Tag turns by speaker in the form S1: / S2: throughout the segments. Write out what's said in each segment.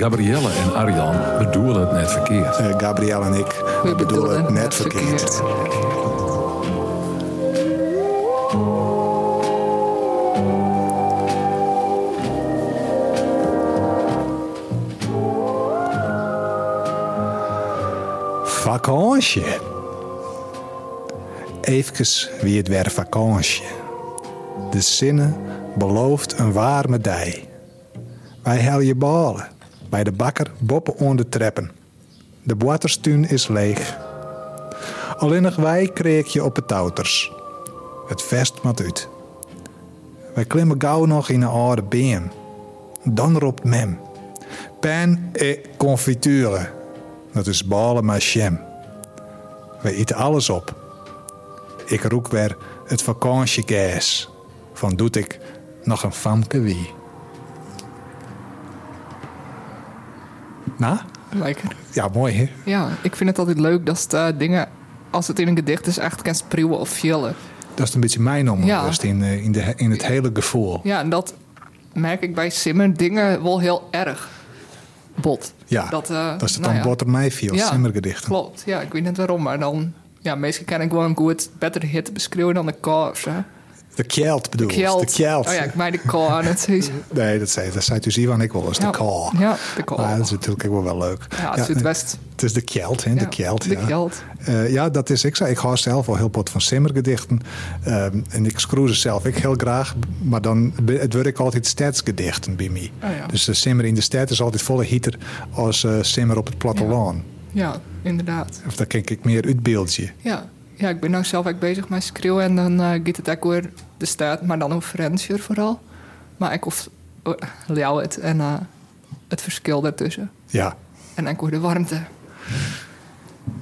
S1: Gabrielle en Arjan bedoelen het net verkeerd.
S2: Eh Gabrielle en ik bedoelen, het net verkeerd. Vakantie. Even wie het weer vakantie. De zinnen belooft een warme dij. Wij hel je balen. Bij de bakker boppen onder treppen. De boaterstuin is leeg. Alleen nog wij kreeg je op het touters. Het vest mat uit. Wij klimmen gauw nog in een oude beem. Dan roept mem. Pen en confiture. Dat is balen maar jam. We eten alles op. Ik roek weer het vakantiegas. Van doet ik nog een famke wie. Na?
S3: Lekker.
S2: Ja, mooi hè?
S3: Ja, ik vind het altijd leuk dat het, eh, dingen, als het in een gedicht is, echt kan spreeuwen of chillen.
S2: Dat is een beetje mijn onrust
S3: Ja.
S2: in, eh, in, de, in het hele gevoel.
S3: Ja, en dat merk ik bij Simmer dingen wel heel erg bot.
S2: Ja, dat,
S3: dat, eh,
S2: is het
S3: nou
S2: dan
S3: ja.
S2: botter mij viel,
S3: Ja,
S2: simmergedichten.
S3: Klopt, ja, ik weet niet waarom, maar dan... Ja, meestal kan ik wel een goed, beter hit beschreeuwen dan de kou of zo.
S2: De kjeld bedoel ik.
S3: Kjeld.
S2: De kjeld.
S3: Oh ja, ik maak de kou aan het is.
S2: Nee, dat zei, dat zei Tuziva en ik wel eens, de
S3: Ja.
S2: call.
S3: Ja, de call.
S2: Maar dat is natuurlijk ook wel, wel leuk.
S3: Ja, het is het best.
S2: Het is de kjeld, hè? De
S3: Ja,
S2: kjeld,
S3: de
S2: ja.
S3: kjeld.
S2: Eh, ja, dat is ik. Ik hou zelf al heel pot van simmergedichten. Ehm, en ik scroeze zelf ik heel graag. Maar dan be- het word ik altijd stadsgedichten bij mij.
S3: Oh ja.
S2: Dus de simmer in de stad is altijd volle hieter als eh, simmer op het platteland.
S3: Ja, inderdaad.
S2: Of daar kijk ik meer uitbeeldje.
S3: Ja. ja, ik ben nou zelf ook bezig met schreeuwen. En dan eh gaat het ook weer de staat, maar dan over Frencher vooral. Maar ik of oh, jou het en eh, het verschil daartussen.
S2: Ja.
S3: En ik hoor de warmte.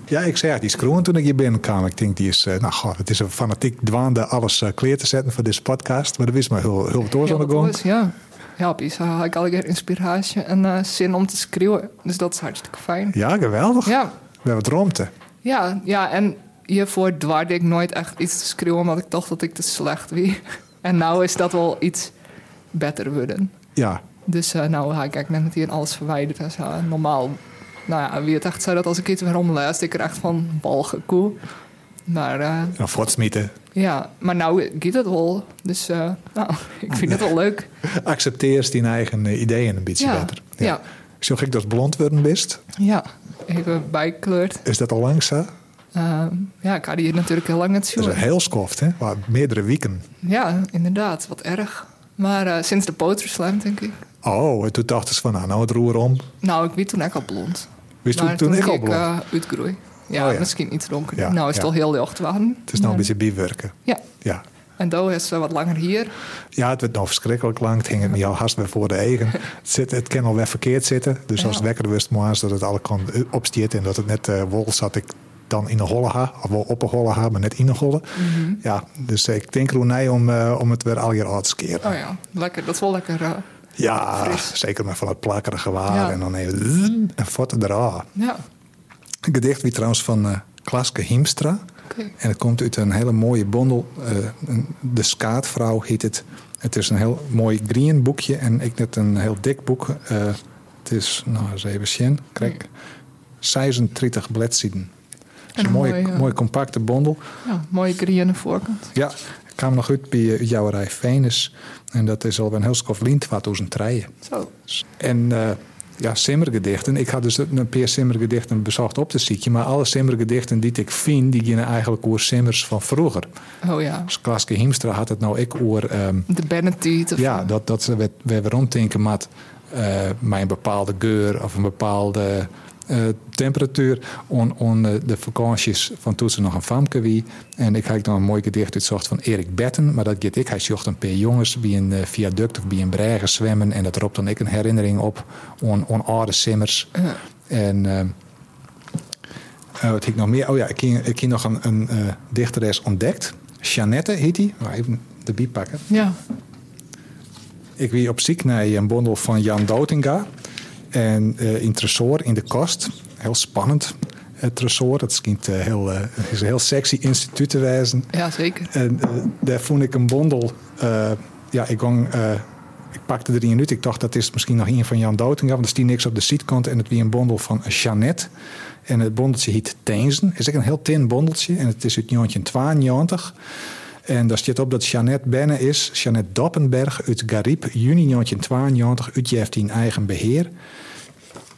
S2: Ja, ik zei, die scroen toen ik hier binnenkwam. Ik denk, die is, eh, nou god, het is een fanatiek dwaande alles eh, kleer te zetten voor deze podcast. Maar dat is maar heel, heel wat oors aan de gang.
S3: Dus ja, ja op Isa had ik al keer inspiratie en eh, zin om te schreeuwen. Dus dat is hartstikke fijn.
S2: Ja, geweldig.
S3: Ja,
S2: We hebben het romte.
S3: ja, ja en hiervoor dwaarde ik nooit echt iets te schreeuwen... omdat ik dacht dat ik te slecht wie. En nou is dat wel iets beter worden.
S2: Ja,
S3: Dus eh, nou ga ik eigenlijk net meteen alles verwijderd en zo. En normaal, nou ja, wie het echt zei dat als ik iets weer omluist... ik er echt van balgen koe. Maar eh,
S2: en voortsmieten.
S3: ja, maar nou gaat het wel. Dus eh, nou, ik vind het wel leuk.
S2: Accepteer die eigen eh, ideeën een beetje
S3: Ja,
S2: beter.
S3: ja.
S2: Zo gek dat blond worden bist,
S3: Ja, even bijkleurd.
S2: is dat al lang zo?
S3: Ehm, ja, ik had hier natuurlijk heel lang het
S2: Dat is
S3: zoeken.
S2: een heel skoft, hè? Maar meerdere weken.
S3: Ja, inderdaad, wat erg. Maar eh, sinds de poterslam, denk ik.
S2: Oh, en toen dachten ze van, nou, nou het roer om.
S3: Nou, ik weet toen ook al blond.
S2: Wist toen,
S3: Maar
S2: toen ik al
S3: ik
S2: blond.
S3: eh, uitgroei. Ja,
S2: Oh ja.
S3: misschien iets donkerder.
S2: Ja,
S3: nou is
S2: ja.
S3: het al heel licht warm.
S2: het is nou een beetje bijwerken.
S3: Ja,
S2: Ja.
S3: en daar is ze wat langer hier.
S2: Ja, het werd nou verschrikkelijk lang. Het hing het me al haast weer voor de eigen. Het, zit, het kan al weer verkeerd zitten. Dus
S3: Ja.
S2: als het wekker wist, moest dat het alle kan opstiet en dat het net eh, wol zat ik dan in een holle ha. Of wel op een holle ha, maar net in een holle.
S3: Mhm.
S2: Ja, dus ik denk Roenij om, eh, om het weer al je uit te keren.
S3: Oh ja, lekker. Dat is wel lekker. eh,
S2: ja,
S3: fris.
S2: zeker maar van het plakkerige waar.
S3: Ja.
S2: En dan even en fort eraan.
S3: ja,
S2: Een gedicht wie trouwens van eh, Klaske Hiemstra.
S3: oké.
S2: En het komt uit een hele mooie bondel. eh, een- de Skaatvrouw heet het. Het is een heel mooi green boekje en ik net een heel dik boek. Eh, het is, nou eens even zien, kijk, 36 bladzijden. Het is
S3: En
S2: een mooie,
S3: mooi,
S2: mooie,
S3: eh,
S2: compacte bondel.
S3: Ja, mooie grieën voorkant.
S2: Ja, ik kwam nog uit bij eh, Jouwerij Venus. En dat is al een heel skof lint wat uit zijn treien.
S3: Zo.
S2: En eh, ja, simmergedichten. Ik had dus een paar simmergedichten bezocht op te zieken. Maar alle simmergedichten die ik vind, die gingen eigenlijk over simmers van vroeger.
S3: Oh ja,
S2: Dus Klaske Hiemstra had het nou ik over... ehm,
S3: de Bennetiet. Of
S2: ja, dat, dat ze weer, weer weer omdenken met eh, mijn bepaalde geur of een bepaalde eh, temperatuur. On, on eh, de vakanties van toen ze nog een famke wie. En ik had dan een mooi gedicht uitzocht van Erik Betten. Maar dat geeft ik. Hij zocht een paar jongens bij een eh, viaduct of bij een bregen zwemmen. En dat roept dan ik een herinnering op on, on oude simmers.
S3: Ja.
S2: En... ehm, eh, wat heb ik nog meer? Oh ja, ik ken, ik ken nog een, een eh, dichteres ontdekt. Jeannette heet die. Maar even de biep pakken.
S3: Ja,
S2: Ik wie op ziek naar een bondel van Jan Doutinga. En eh in Tresor in de kast. Heel spannend. Het Tresor, dat schijnt, eh, heel, eh, het is een heel sexy instituut te wijzen.
S3: ja zeker.
S2: En eh, daar vond ik een bondel. eh, ja, ik ging eh, Ik pakte er een uit. Ik dacht dat is misschien nog een van Jan Dotinga. Want er stond niks op de sietkant. En het was een bondel van Jeannette. En het bondeltje heet Teensen. Het is ook een heel tin bondeltje. En het is uit 1992. En daar staat op dat Jeannette Benne is. Jeannette Doppenberg uit Garib. Juni 1992. Uit heeft in eigen beheer.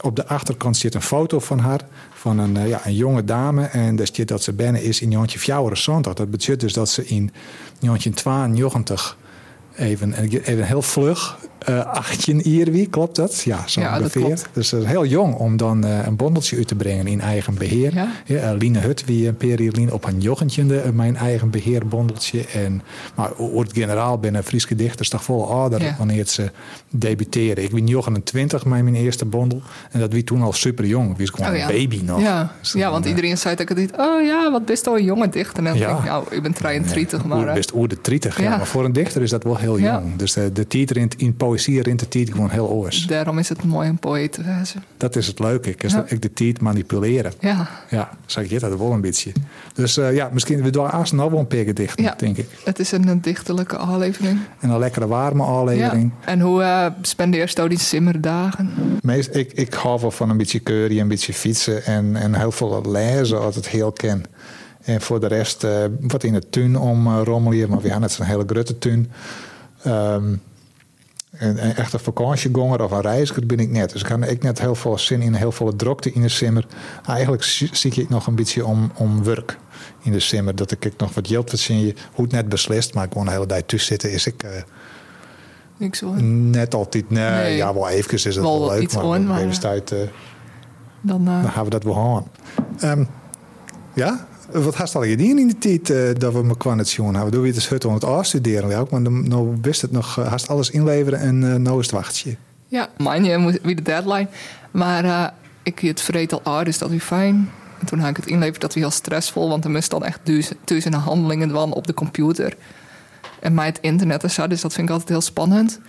S2: Op de achterkant zit een foto van haar, van een, eh, ja, een jonge dame. En daar staat dat ze bijna is in 1974. Dat betekent dus dat ze in 1992 even, even heel vlug eh 18 jaar wie, klopt dat? Ja, zo
S3: Ja, dat
S2: ongeveer.
S3: klopt.
S2: Dus eh, heel jong om dan eh, een bondeltje uit te brengen in eigen beheer.
S3: Ja.
S2: eh, Line Hut, wie een Lien op een jochentje, de, eh, mijn eigen beheerbondeltje. En, maar oort generaal binnen Frieske dichters toch vol ouder
S3: Ja.
S2: wanneer ze debuteren. Ik ben 29 met mijn eerste bondel. En dat wie toen al super jong. Wie is gewoon
S3: Oh, ja.
S2: een baby nog.
S3: Ja.
S2: Dus
S3: ja,
S2: dan,
S3: want
S2: eh,
S3: iedereen zei dat ik het niet. Oh ja, wat best wel een jonge dichter. En dan
S2: Ja.
S3: denk ik, nou, ik ben 33, maar...
S2: Oer,
S3: eh,
S2: best oer de 30, ja.
S3: Ja.
S2: Maar voor een dichter is dat wel heel
S3: Ja.
S2: jong. Dus de, de titel in, in poëzie rint de titel gewoon heel oors.
S3: Daarom is het mooi om poëet te wezen.
S2: Dat is het leuke. Ik, is
S3: Ja.
S2: dat ik de titel manipuleren.
S3: Ja,
S2: Ja, zag je dat wel een beetje. Dus eh, ja, misschien we doen aas nog wel een pik dicht,
S3: Ja.
S2: denk ik.
S3: het is een dichterlijke aflevering.
S2: En een lekkere warme aflevering.
S3: Ja. En hoe eh spendeer je die simmerdagen?
S2: Meest, ik, ik hou wel van een beetje curry, een beetje fietsen en, en heel veel lezen als het heel kan. En voor de rest eh, wat in de tuin om eh, rommelen, maar we hadden het een hele grote tuin. Ehm, en, en echt een vakantiegonger of een reiziger ben ik net. Dus ik had ik net heel veel zin in, heel veel drukte in de simmer. Eigenlijk zie zie ik nog een beetje om, om werk in de simmer. Dat ik ook nog wat geld verzin. Hoe het net beslist, maar gewoon de hele tijd tussen zitten is ik... eh,
S3: Ik zo.
S2: Mm. Net altijd, nee,
S3: Nee.
S2: ja, wel even is het wel,
S3: Wel
S2: leuk,
S3: iets
S2: maar
S3: on,
S2: op
S3: maar-
S2: deze tijd eh,
S3: Dan, eh,
S2: dan gaan we dat wel houden. Ehm, ja, wat had al gedaan in de tijd eh, dat we me kwamen zien hebben? Doen we het eens hut om het afstuderen wel, maar dan- nou wist het nog, eh, haast alles inleveren en eh nou is het wachtje.
S3: ja, man, je moet wie de deadline. Maar eh, ik hield het vreet al oud, dus dat is fijn. En toen had ik het inleverd, dat was heel stressvol, want er moest dan echt dus duiz- duizenden handelingen van op de computer. En mij het internet en zo, dus dat vind ik altijd heel spannend.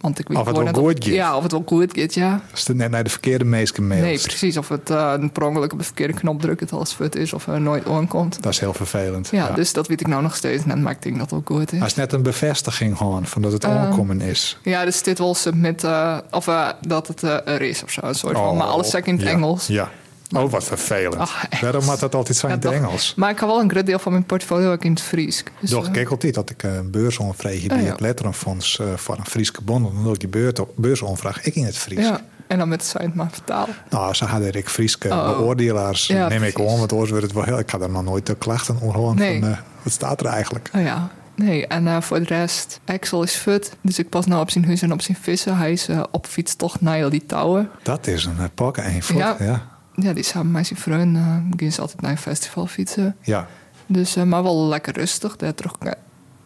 S3: Want ik weet
S2: Of het
S3: gewoon
S2: wel
S3: net
S2: goed gaat.
S3: Ja, of het wel goed gaat, ja.
S2: Als het net naar de verkeerde meesken mailt.
S3: Nee, precies. Of het eh een per ongeluk op de verkeerde knop drukt, het alles fut is, of er nooit aankomt.
S2: Dat is heel vervelend.
S3: Ja, dus dat weet ik nou nog steeds. En dat maakt denk ik dat het wel goed is.
S2: Als net een bevestiging gewoon van dat
S3: Ehm,
S2: het aankomen is.
S3: Ja, dus dit was met, eh, of eh, dat het eh, er is of zo. Een soort van, maar alles zeg ik in het
S2: Oh, ja,
S3: Engels.
S2: Ja. Oh, wat vervelend.
S3: Ach, Engels.
S2: Waarom had dat altijd zijn
S3: Ja,
S2: in het
S3: toch.
S2: Engels?
S3: Maar ik had wel een groot deel van mijn portfolio ook in het Fries. Dus,
S2: Doch,
S3: eh,
S2: kijk altijd dat ik eh, een beursaanvraag hier
S3: Ah,
S2: bij
S3: ja.
S2: het letterenfonds eh, voor een Friese bond. Dan doe ik die beurt- beursaanvraag ik in het Fries.
S3: Ja, en dan met zijn maar vertalen.
S2: Nou, ze hadden Rick Frieske
S3: Oh.
S2: beoordelaars,
S3: Ja,
S2: neem ik
S3: precies.
S2: om. Want anders werd het wel heel... Ik had er nog nooit de klachten over gehoord
S3: Nee.
S2: van, eh, wat staat er eigenlijk?
S3: Oh ja, nee. En eh, voor de rest, Axel is fut. Dus ik pas nou op zijn huis en op zijn vissen. Hij is eh, op fietstocht naar die touwen.
S2: Dat is een eh, pakken een voet. Ja.
S3: Ja.
S2: Ja.
S3: Ja, die samen met zijn vriend. eh gaan ze altijd naar een festival fietsen.
S2: ja.
S3: Dus, eh, maar wel lekker rustig. Daar terug had ik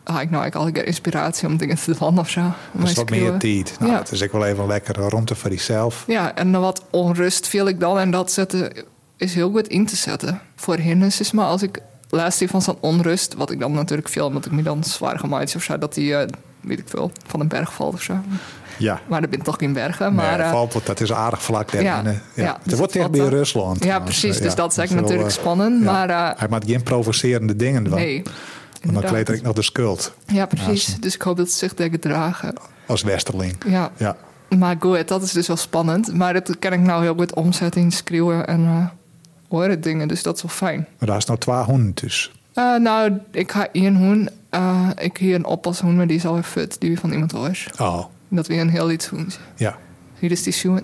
S3: nou eigenlijk altijd weer inspiratie om dingen te doen of zo. Om
S2: Dat
S3: eens
S2: is
S3: te
S2: wat meer
S3: krieuwen.
S2: tijd. Nou,
S3: Ja.
S2: dat is ook wel even lekker rondte voor jezelf.
S3: Ja, en dan wat onrust viel ik dan. En dat zetten is heel goed in te zetten. Voor hindernissen, maar als ik laatst die van zo'n onrust... wat ik dan natuurlijk veel, omdat ik me dan zwaar gemaakt of zo... dat die, eh, weet ik veel, van een berg valt of zo.
S2: Ja.
S3: Maar dat bent toch geen bergen.
S2: Maar,
S3: Maar, eh,
S2: valt het, dat is aardig vlak daar.
S3: ja,
S2: binnen. ja.
S3: ja,
S2: het
S3: dus
S2: wordt
S3: dat
S2: dicht bij
S3: valt wel.
S2: Rusland.
S3: ja,
S2: trouwens.
S3: precies. Dus
S2: Ja,
S3: dat is
S2: is wel,
S3: eigenlijk natuurlijk
S2: eh,
S3: spannend.
S2: ja.
S3: Maar eh,
S2: Hij maakt geen provocerende dingen dan.
S3: nee,
S2: want dan
S3: inderdaad.
S2: kleed ik nog de schuld
S3: Ja, precies. Dus ik hoop dat ze zich daar gedragen.
S2: als westerling.
S3: Ja,
S2: Ja.
S3: maar goed, dat is dus wel spannend. Maar dat kan ik nou heel goed omzetten in schreeuwen en eh horen dingen. Dus dat is wel fijn.
S2: Maar daar is nou twee honden dus.
S3: Eh, nou, ik ga één hoen. eh, ik hier een oppashoen, maar die is alweer fut. Die weer van iemand anders.
S2: Oh,
S3: Dat weer een heel iets hoentje.
S2: ja.
S3: Hier is die zoen.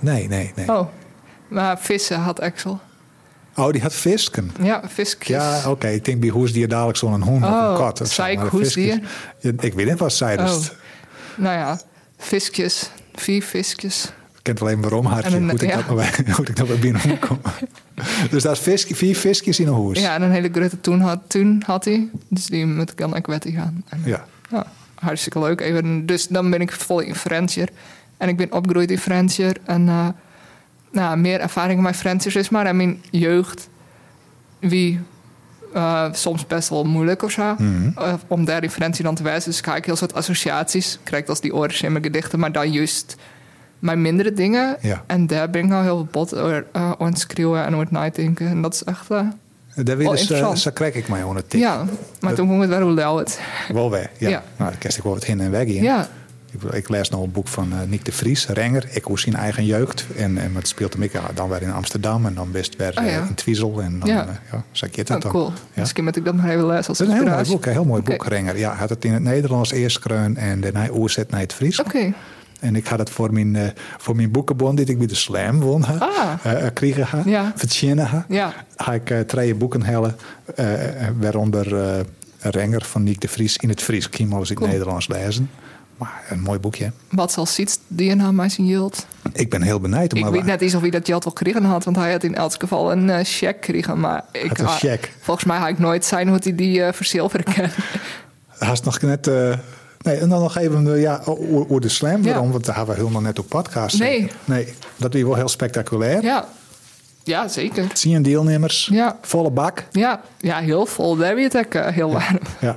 S2: Nee, nee, nee. Oh,
S3: Oh, maar vissen had Axel.
S2: die had visken.
S3: Ja, viskjes.
S2: Ja, oh. oké. Ik denk bij hoesdier dadelijk zo'n hoen of een
S3: Oh,
S2: kat. Of zo,
S3: zei ik
S2: maar de visjes-
S3: hoesdier?
S2: Ja, ik weet niet wat zij
S3: Oh.
S2: dus.
S3: Nou ja, viskjes. Vier viskjes.
S2: Ik kent alleen waarom haar.
S3: En een-
S2: Moet ik
S3: ja.
S2: dat maar bij, hoe ik dat bij binnen moet komen. dus daar is vis- vier visjes in een hoes.
S3: Ja, en een hele grote toen had, toen had hij. Dus die moet ik dan ook wettig gaan. En,
S2: ja.
S3: Ja, hartstikke leuk. Even, dus dan ben ik vol in Frenchier. En ik ben opgegroeid in Frenchier. En eh, nou, meer ervaring met Frenchier is maar. En mijn jeugd, wie eh, soms best wel moeilijk of zo. eh, om daar in Frenchier dan te wijzen. Dus ga ik heel soort associaties. Krijg als die oren in mijn gedichten. Maar dan juist mijn mindere dingen.
S2: Ja.
S3: En daar ben ik al heel bot over eh, aan het schreeuwen en over het nadenken. En dat is echt... eh,
S2: Daar wil
S3: Oh,
S2: dus, eh
S3: interessant.
S2: zo krijg ik mij onder het tik.
S3: ja, maar toen vond ik het wel heel lauw. het.
S2: Wel weg. Ja.
S3: Ja.
S2: Nou, dan kerst ik wel wat heen en weg in.
S3: Ja,
S2: Ik- Ik lees nou een boek van eh Nick de Vries, Renger. Ik hoor zijn eigen jeugd. En, en het speelt hem ik eh, dan weer in Amsterdam en dan best weer
S3: Oh,
S2: eh,
S3: ja.
S2: in Twizel. En dan,
S3: Ja.
S2: ja. ja, zo keert dat
S3: Oh,
S2: dan.
S3: cool. Misschien moet ik dat maar even lezen als
S2: Het is een heel mooi
S3: inspiratie.
S2: boek, een heel mooi
S3: Oké.
S2: boek, Renger. Ja, hij had het in het Nederlands eerst kreun en daarna oerzet naar het Fries.
S3: Oké.
S2: En ik had het voor mijn, eh, voor mijn boekenbond, die ik bij de Slam won, ha,
S3: Ah.
S2: eh, eh, kregen ha,
S3: Ja.
S2: verdienen ha.
S3: Ja.
S2: Had ik eh, twee boeken hellen, eh, eh, waaronder eh, Renger van Niek de Vries in het Fries. Ik kan hem wel eens in het
S3: Cool.
S2: Nederlands lezen. Maar een mooi boekje.
S3: Wat zal ziet die een aan mij zijn yield?
S2: Ik ben heel benijd.
S3: Ik
S2: maar
S3: weet
S2: wa-
S3: net eens of hij dat geld al gekregen had, want hij had in elk geval een eh, check gekregen. Maar ik
S2: Had een
S3: ah,
S2: check.
S3: Volgens mij had ik nooit zijn hoe hij die eh verzilveren kan.
S2: Haast nog net. eh, nee, en dan nog even eh, ja, o- over de slam.
S3: Ja.
S2: Waarom? Want daar hebben we helemaal net op podcast.
S3: Nee.
S2: zitten. nee. Dat weer wel heel spectaculair.
S3: ja. ja, zeker.
S2: Zie je deelnemers?
S3: Ja.
S2: Volle bak.
S3: Ja, ja heel vol. Daar werd het ook eh, heel warm.
S2: Ja.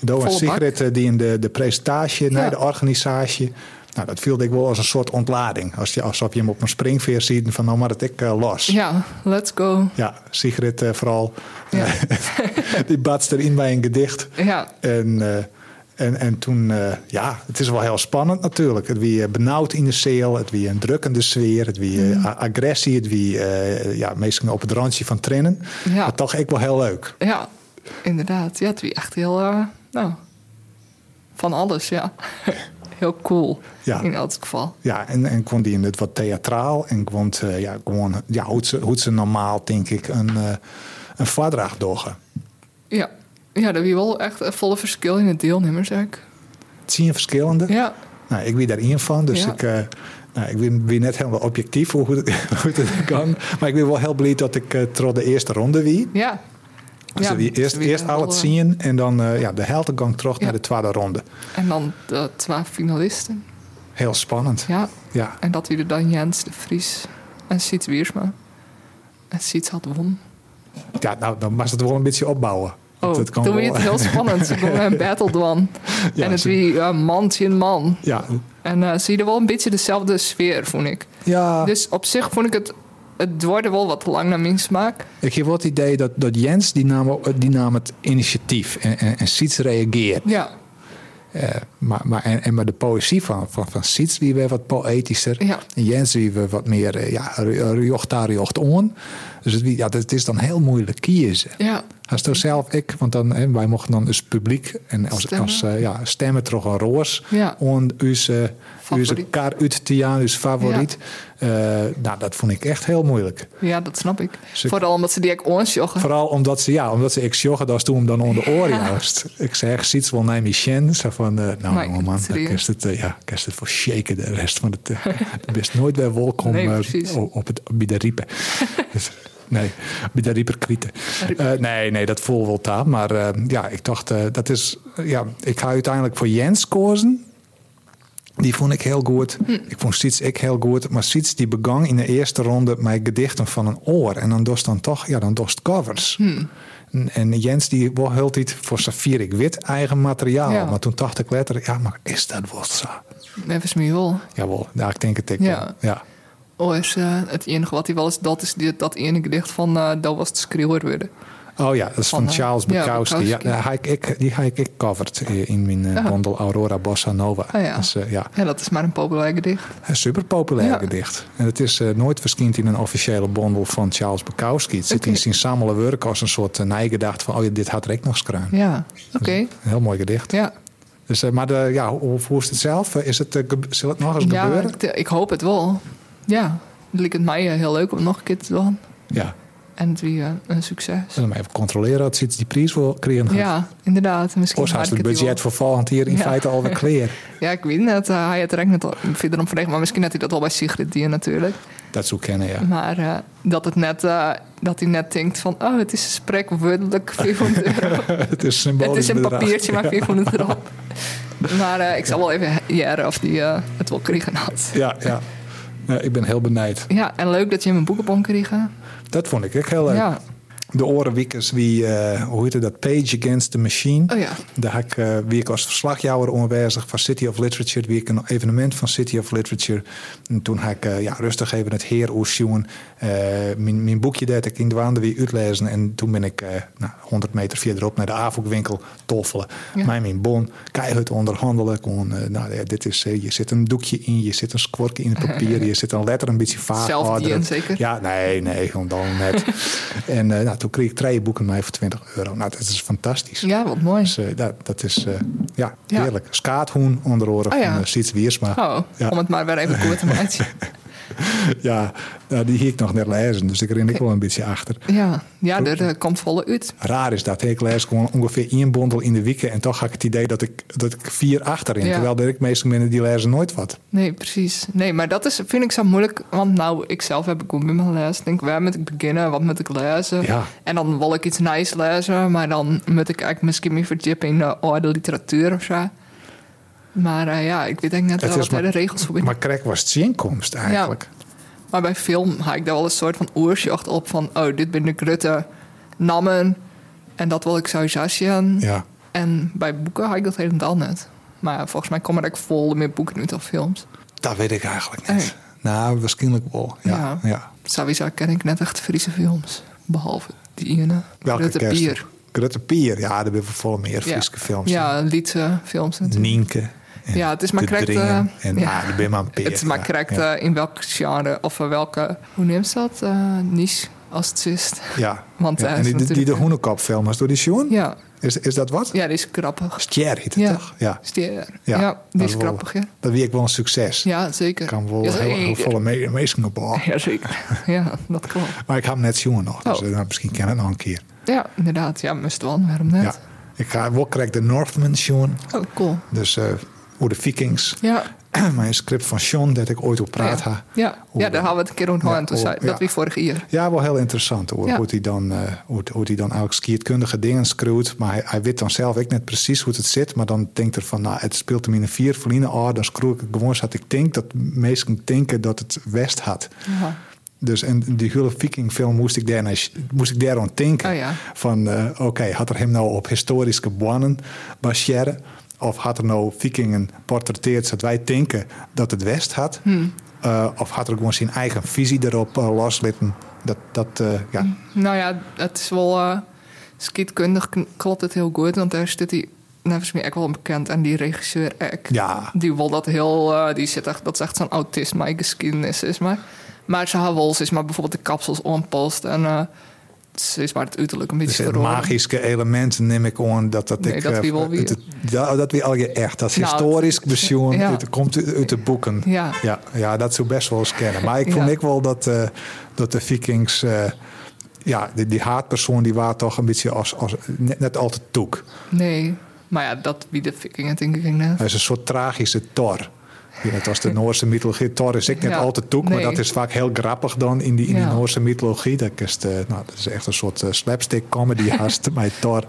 S2: Doan
S3: Volle bak.
S2: Sigrid eh, die in de, de presentatie,
S3: Ja.
S2: nee, de organisatie. Nou, dat viel ik wel als een soort ontlading. Als je, alsof je hem op een springveer ziet en van nou maar dat ik eh, los.
S3: Ja, let's go.
S2: Ja, Sigrid eh, vooral.
S3: Ja.
S2: die batst erin bij een gedicht.
S3: Ja,
S2: En, eh, en, en toen, eh, ja, het is wel heel spannend natuurlijk. Het wie eh, benauwd in de cel, het wie een drukkende sfeer, het wie
S3: Mhm.
S2: eh, a- agressie, het wie eh, ja, meestal op het randje van trainen.
S3: Ja.
S2: Maar toch ook wel heel leuk.
S3: ja inderdaad. Ja, het was echt heel... eh, nou, van alles, ja. heel cool,
S2: Ja.
S3: in elk geval.
S2: Ja, en, en kwam die in het wat theatraal en kwam het, eh, ja, gewoon, ja, hoe ze, hoe ze normaal, denk ik, een, eh een vadraag doggen.
S3: Ja, ja dat was wel echt een volle verschil in de deelnemers eigenlijk.
S2: Het zie je verschillende.
S3: Ja,
S2: Nou, ik ben daar één van, dus
S3: Ja.
S2: ik, eh, nou, ik ben, ben net helemaal objectief hoe het, hoe het kan. Maar ik ben wel heel blij dat ik eh trots de eerste ronde wie.
S3: ja.
S2: Dus
S3: ja,
S2: die eerst,
S3: ze wie
S2: eerst
S3: wel,
S2: al het
S3: eh,
S2: zien en dan eh, ja, de heldengang terug
S3: Ja.
S2: naar de tweede ronde.
S3: eh, En dan de twaalf finalisten.
S2: Heel spannend. Ja.
S3: Ja, en dat wie er dan Jens de Vries en Siet Wiersma. En Siet had won.
S2: Ja, nou, dan mag ze het wel een beetje opbouwen.
S3: Oh,
S2: Want
S3: toen werd het heel spannend. Ze konden een battle doen.
S2: Ja,
S3: en het
S2: ze-
S3: wie eh, man tegen man.
S2: Ja,
S3: En eh ze hadden wel een beetje dezelfde sfeer, vond ik.
S2: ja
S3: Dus op zich vond ik het... Het duurde wel wat te lang naar mijn smaak.
S2: ik heb wel het idee dat, dat Jens, die nam, die nam het initiatief en, en, en Siets reageert.
S3: Ja,
S2: Eh, maar, maar, en, en maar de poëzie van, van, van Siets, die weer wat poëtischer.
S3: Ja.
S2: En Jens, die weer wat meer, eh, ja, rjocht daar, rjocht on. Dus het, wie- ja, dat is dan heel moeilijk kiezen.
S3: ja,
S2: Als toch zelf ik, want dan, hè, wij mochten dan als publiek en als
S3: Stemmen.
S2: stemmen, als, eh, ja, stemmen toch een roos.
S3: Ja.
S2: En onze, onze
S3: Favoriet.
S2: kar uit te jaan, onze favoriet. Eh, nou, dat vond ik echt heel moeilijk.
S3: ja, dat snap ik.
S2: Ze-
S3: Vooral omdat ze die ook onsjoggen.
S2: Vooral omdat ze, ja, omdat ze ik joggen, dat toen hem dan onder oren
S3: Ja.
S2: juist. Ik zeg, ziet wel naar Michel. Zo van, eh, nou
S3: Maar
S2: jongen, man,
S3: serieus.
S2: dan kerst het, eh, ja, kerst het voor shaken de rest van het. eh, Je bent nooit bij welkom
S3: Nee,
S2: eh,
S3: precies.
S2: op, op het bij de riepen. Dus, nee, bij de rieper kwieten.
S3: Rieper.
S2: Eh, nee, nee, dat voel wel taal. Maar eh, ja, ik dacht, eh, dat is, eh, ja, ik ga uiteindelijk voor Jens kozen. Die vond ik heel goed.
S3: Hm.
S2: Ik vond Siets ik heel goed. Maar Siets die begon in de eerste ronde met gedichten van een oor. En dan dost dan toch, ja, dan dost covers.
S3: Hm.
S2: En, en Jens die wel heel tijd voor Safir wit eigen materiaal.
S3: Ja.
S2: Maar toen dacht ik letterlijk, ja, maar is dat wel zo?
S3: Even meer wel.
S2: Jawel, ja, ik denk het ik
S3: Ja.
S2: wel. Ja.
S3: Oh, is eh, het enige wat hij wel is, dat is die, dat ene gedicht van eh dat was de schreeuwer worden.
S2: Oh ja, dat is van,
S3: Van, eh,
S2: Charles
S3: ja,
S2: Bukowski. Ja,
S3: Bukowski.
S2: daar ga ik, ik, die ga ik, ik covered eh, in mijn eh,
S3: Ah.
S2: bundel Aurora Bossa Nova.
S3: Ah, ja.
S2: Dus, eh, ja,
S3: Ja, dat is maar een populair gedicht.
S2: een super populair
S3: Ja.
S2: gedicht. En het is eh, nooit verschijnt in een officiële bundel van Charles Bukowski. Het zit
S3: Oké.
S2: in zijn samele werk als een soort uh, nijgedacht van... oh ja, dit had ik nog schreeuwen.
S3: Ja, oké.
S2: Een heel mooi gedicht.
S3: Ja,
S2: Dus, eh, maar de, ja, hoe, hoe is het zelf? Is het, eh, gebe- zal het nog eens
S3: ja
S2: gebeuren?
S3: ik, eh, ik hoop het wel. Ja, het lijkt het mij eh, heel leuk om nog een keer te doen.
S2: Ja.
S3: En het weer een succes.
S2: Zullen we even controleren dat ze iets die prijs wil krijgen?
S3: Ja, inderdaad. Misschien
S2: Of
S3: maak
S2: is
S3: ik
S2: het
S3: het
S2: budget
S3: wel.
S2: voor volgend jaar in
S3: Ja.
S2: feite alweer clear?
S3: Ja, ik weet het. eh, hij had er eigenlijk net al verder om verlegen. Maar misschien had hij dat al bij Sigrid Dier natuurlijk.
S2: Dat zou kennen, ja.
S3: Maar eh, dat, het net, eh, dat hij net denkt van... Oh, het is een spreekwoordelijk 400 euro.
S2: het is symbolisch
S3: Het is een
S2: bedrag.
S3: papiertje, maar 400 erop. Maar eh, ik zal wel even jaren of die eh, het wel kregen had.
S2: Ja, ja. Ja, ik ben heel benijd.
S3: Ja, en leuk dat je hem een boekenbon kreeg.
S2: Dat vond ik ook heel leuk.
S3: Ja.
S2: de orenwiekers, wie, eh, hoe heette dat? Page Against the Machine.
S3: Oh ja.
S2: Daar had ik, eh, wie ik als verslagjouwer onwijzig van City of Literature. Wie ik een evenement van City of Literature. En toen had ik eh, ja, rustig even het heer oersjoen. Eh, mijn, mijn boekje deed ik in de waande weer uitlezen. En toen ben ik eh, nou, 100 meter verderop naar de AVOK-winkel toffelen.
S3: Ja.
S2: Mij mijn bon, keihard onderhandelen. Kon, eh, nou, ja, dit is, eh, je zit een doekje in, je zit een squorkje in het papier. je zit een letter een beetje vaag.
S3: Zelf die
S2: uitdrukt.
S3: in, zeker?
S2: Ja, nee, nee, gewoon dan net. en eh, nou, toen kreeg ik drie boeken mij voor 20 euro. Nou, dat is fantastisch.
S3: Ja, wat mooi.
S2: Dus, eh, dat, dat is eh, ja,
S3: Ja.
S2: heerlijk. Skaathoen onder oren
S3: Oh, ja.
S2: van eh, Siets Wiersma.
S3: Oh,
S2: Ja.
S3: om het maar weer even kort te maken.
S2: Ja, nou, die hier ik nog net lezen, dus ik ren ik wel een beetje achter.
S3: Ja, ja er eh, komt volle uit.
S2: Raar is dat. hè? Ik lees gewoon ongeveer één bondel in de weken en toch had ik het idee dat ik, dat ik vier achterin.
S3: Ja.
S2: Terwijl er ik meestal binnen die lezen nooit wat.
S3: Nee, precies. Nee, maar dat is, vind ik zo moeilijk. Want nou, ik zelf heb ik ook met mijn les. Denk, waar moet ik beginnen? Wat moet ik lezen?
S2: Ja.
S3: En dan wil ik iets nice lezen. Maar dan moet ik eigenlijk misschien meer verdiepen in eh, oude literatuur of zo. Maar eh, ja, ik weet eigenlijk net
S2: Het is
S3: wel wat daar de
S2: maar-
S3: regels voor binnen.
S2: Maar krek was het inkomst eigenlijk.
S3: Maar bij film haak ik daar wel een soort van oersjocht op. Van, oh, dit ben de grutte nammen. En dat wil ik sowieso zien.
S2: Ja.
S3: En bij boeken haak ik dat helemaal net. Maar volgens mij komen er ook vol meer boeken uit dan films.
S2: Dat weet ik eigenlijk niet. Nou, waarschijnlijk wel. Ja, ja.
S3: Oh, Ja. Sowieso ken ik net echt Friese films. Behalve die ene.
S2: Welke
S3: Rutte
S2: kerst?
S3: Pier.
S2: Grutte Pier. Ja, daar hebben we vol meer Friese films.
S3: Ja, liedse films natuurlijk.
S2: Nienke. en
S3: Ja, het is maar
S2: De
S3: correct,
S2: Dringen
S3: eh,
S2: En
S3: ja.
S2: ah, de Bimman Peer.
S3: het is maar
S2: Ja,
S3: correct
S2: ja.
S3: eh, in welk genre of eh, welke... Hoe neemt ze dat? eh niche als het is.
S2: Ja,
S3: Want,
S2: ja.
S3: eh,
S2: en die,
S3: is
S2: die de
S3: natuurlijk-
S2: hoenekop film is door die Sjoen?
S3: Ja.
S2: Is, is dat wat?
S3: ja, die is grappig.
S2: Stier heet het
S3: Ja.
S2: toch? Ja.
S3: Stier.
S2: Ja,
S3: Ja,
S2: dat
S3: die
S2: is
S3: is
S2: wel-
S3: grappig, ja.
S2: Dat wie ik wel een succes.
S3: Ja, zeker.
S2: Ik kan wel
S3: ja,
S2: heel, heel
S3: zeker.
S2: volle me- meesingen op.
S3: Ja, zeker. Ja, dat klopt.
S2: Maar ik heb hem net Sjoen nog, dus
S3: Oh.
S2: eh, nou, misschien ken ik het nog een keer.
S3: Ja, inderdaad. Ja, must wel. Waarom net?
S2: Ja. Ik ga wel correct de Northman Sjoen.
S3: Oh, cool.
S2: Dus eh hoe de Vikings.
S3: Ja. Oh,
S2: Mijn script van Sjoen dat ik ooit op praat
S3: ja.
S2: ha.
S3: Ja.
S2: Hoe
S3: ja,
S2: de-
S3: daar hadden we het een keer
S2: Ja,
S3: onthouden. toen
S2: hoe-
S3: zei-
S2: ja.
S3: Dat we vorig jaar.
S2: Ja, wel heel interessant hoor.
S3: Ja.
S2: Hoe hij dan, eh, hoe, hoe die dan ook skiertkundige dingen screwt. Maar hij, hij weet dan zelf ook net precies hoe het zit. Maar dan denkt er van, nou, het speelt hem in een vier verliezen. Oh, dan screw ik het gewoon zoals ik denk. Dat mensen denken dat het West had.
S3: Ja.
S2: Dus en die hele Viking film moest ik, daarna, moest ik daar aan denken.
S3: Oh ja.
S2: Van, eh, oké, had er hem nou op historische banen baseren? Of had er nou Vikingen portretteerd zodat wij denken dat het West had?
S3: Hm.
S2: Eh, of had er gewoon zijn eigen visie erop eh, loslitten? Dat, dat eh, ja,
S3: Nou ja, het is wel. eh schietkundig kn- klopt het heel goed, want daar zit die. Nou, is mij echt wel bekend aan die regisseur Eck.
S2: ja,
S3: Die wil dat heel. eh, die zit echt, dat is echt zo'n autisme eigen geschiedenis, is maar. Maar ze hebben wel, is maar bijvoorbeeld de kapsels onpast en. eh, ze is maar het uiterlijk een beetje
S2: dus het
S3: verloren.
S2: magische elementen neem ik aan dat dat
S3: Nee,
S2: ik...
S3: dat
S2: eh,
S3: wie wel wie-
S2: het- het- dat, dat wie al je echt, dat
S3: Nou,
S2: historisch
S3: het-
S2: bezoen,
S3: ja.
S2: het komt uit, uit de boeken.
S3: Ja.
S2: Ja, ja, dat zou best wel eens kennen. Maar ik vond
S3: Ja.
S2: ik wel dat, eh, dat de Vikings. eh, ja, die, die haatpersoon die waren toch een beetje als, als net, net altijd toek.
S3: Nee, maar ja, dat wie de vikingen denk ik net.
S2: Hij is een soort tragische tor. Ja, Net als de Noorse mythologie. Tor is ik net
S3: Ja,
S2: altijd toek, maar
S3: nee.
S2: dat is vaak heel grappig dan in die, in
S3: Ja.
S2: die Noorse mythologie. Dat is, eh, nou, dat is echt een soort eh, slapstick comedy haast bij Thor.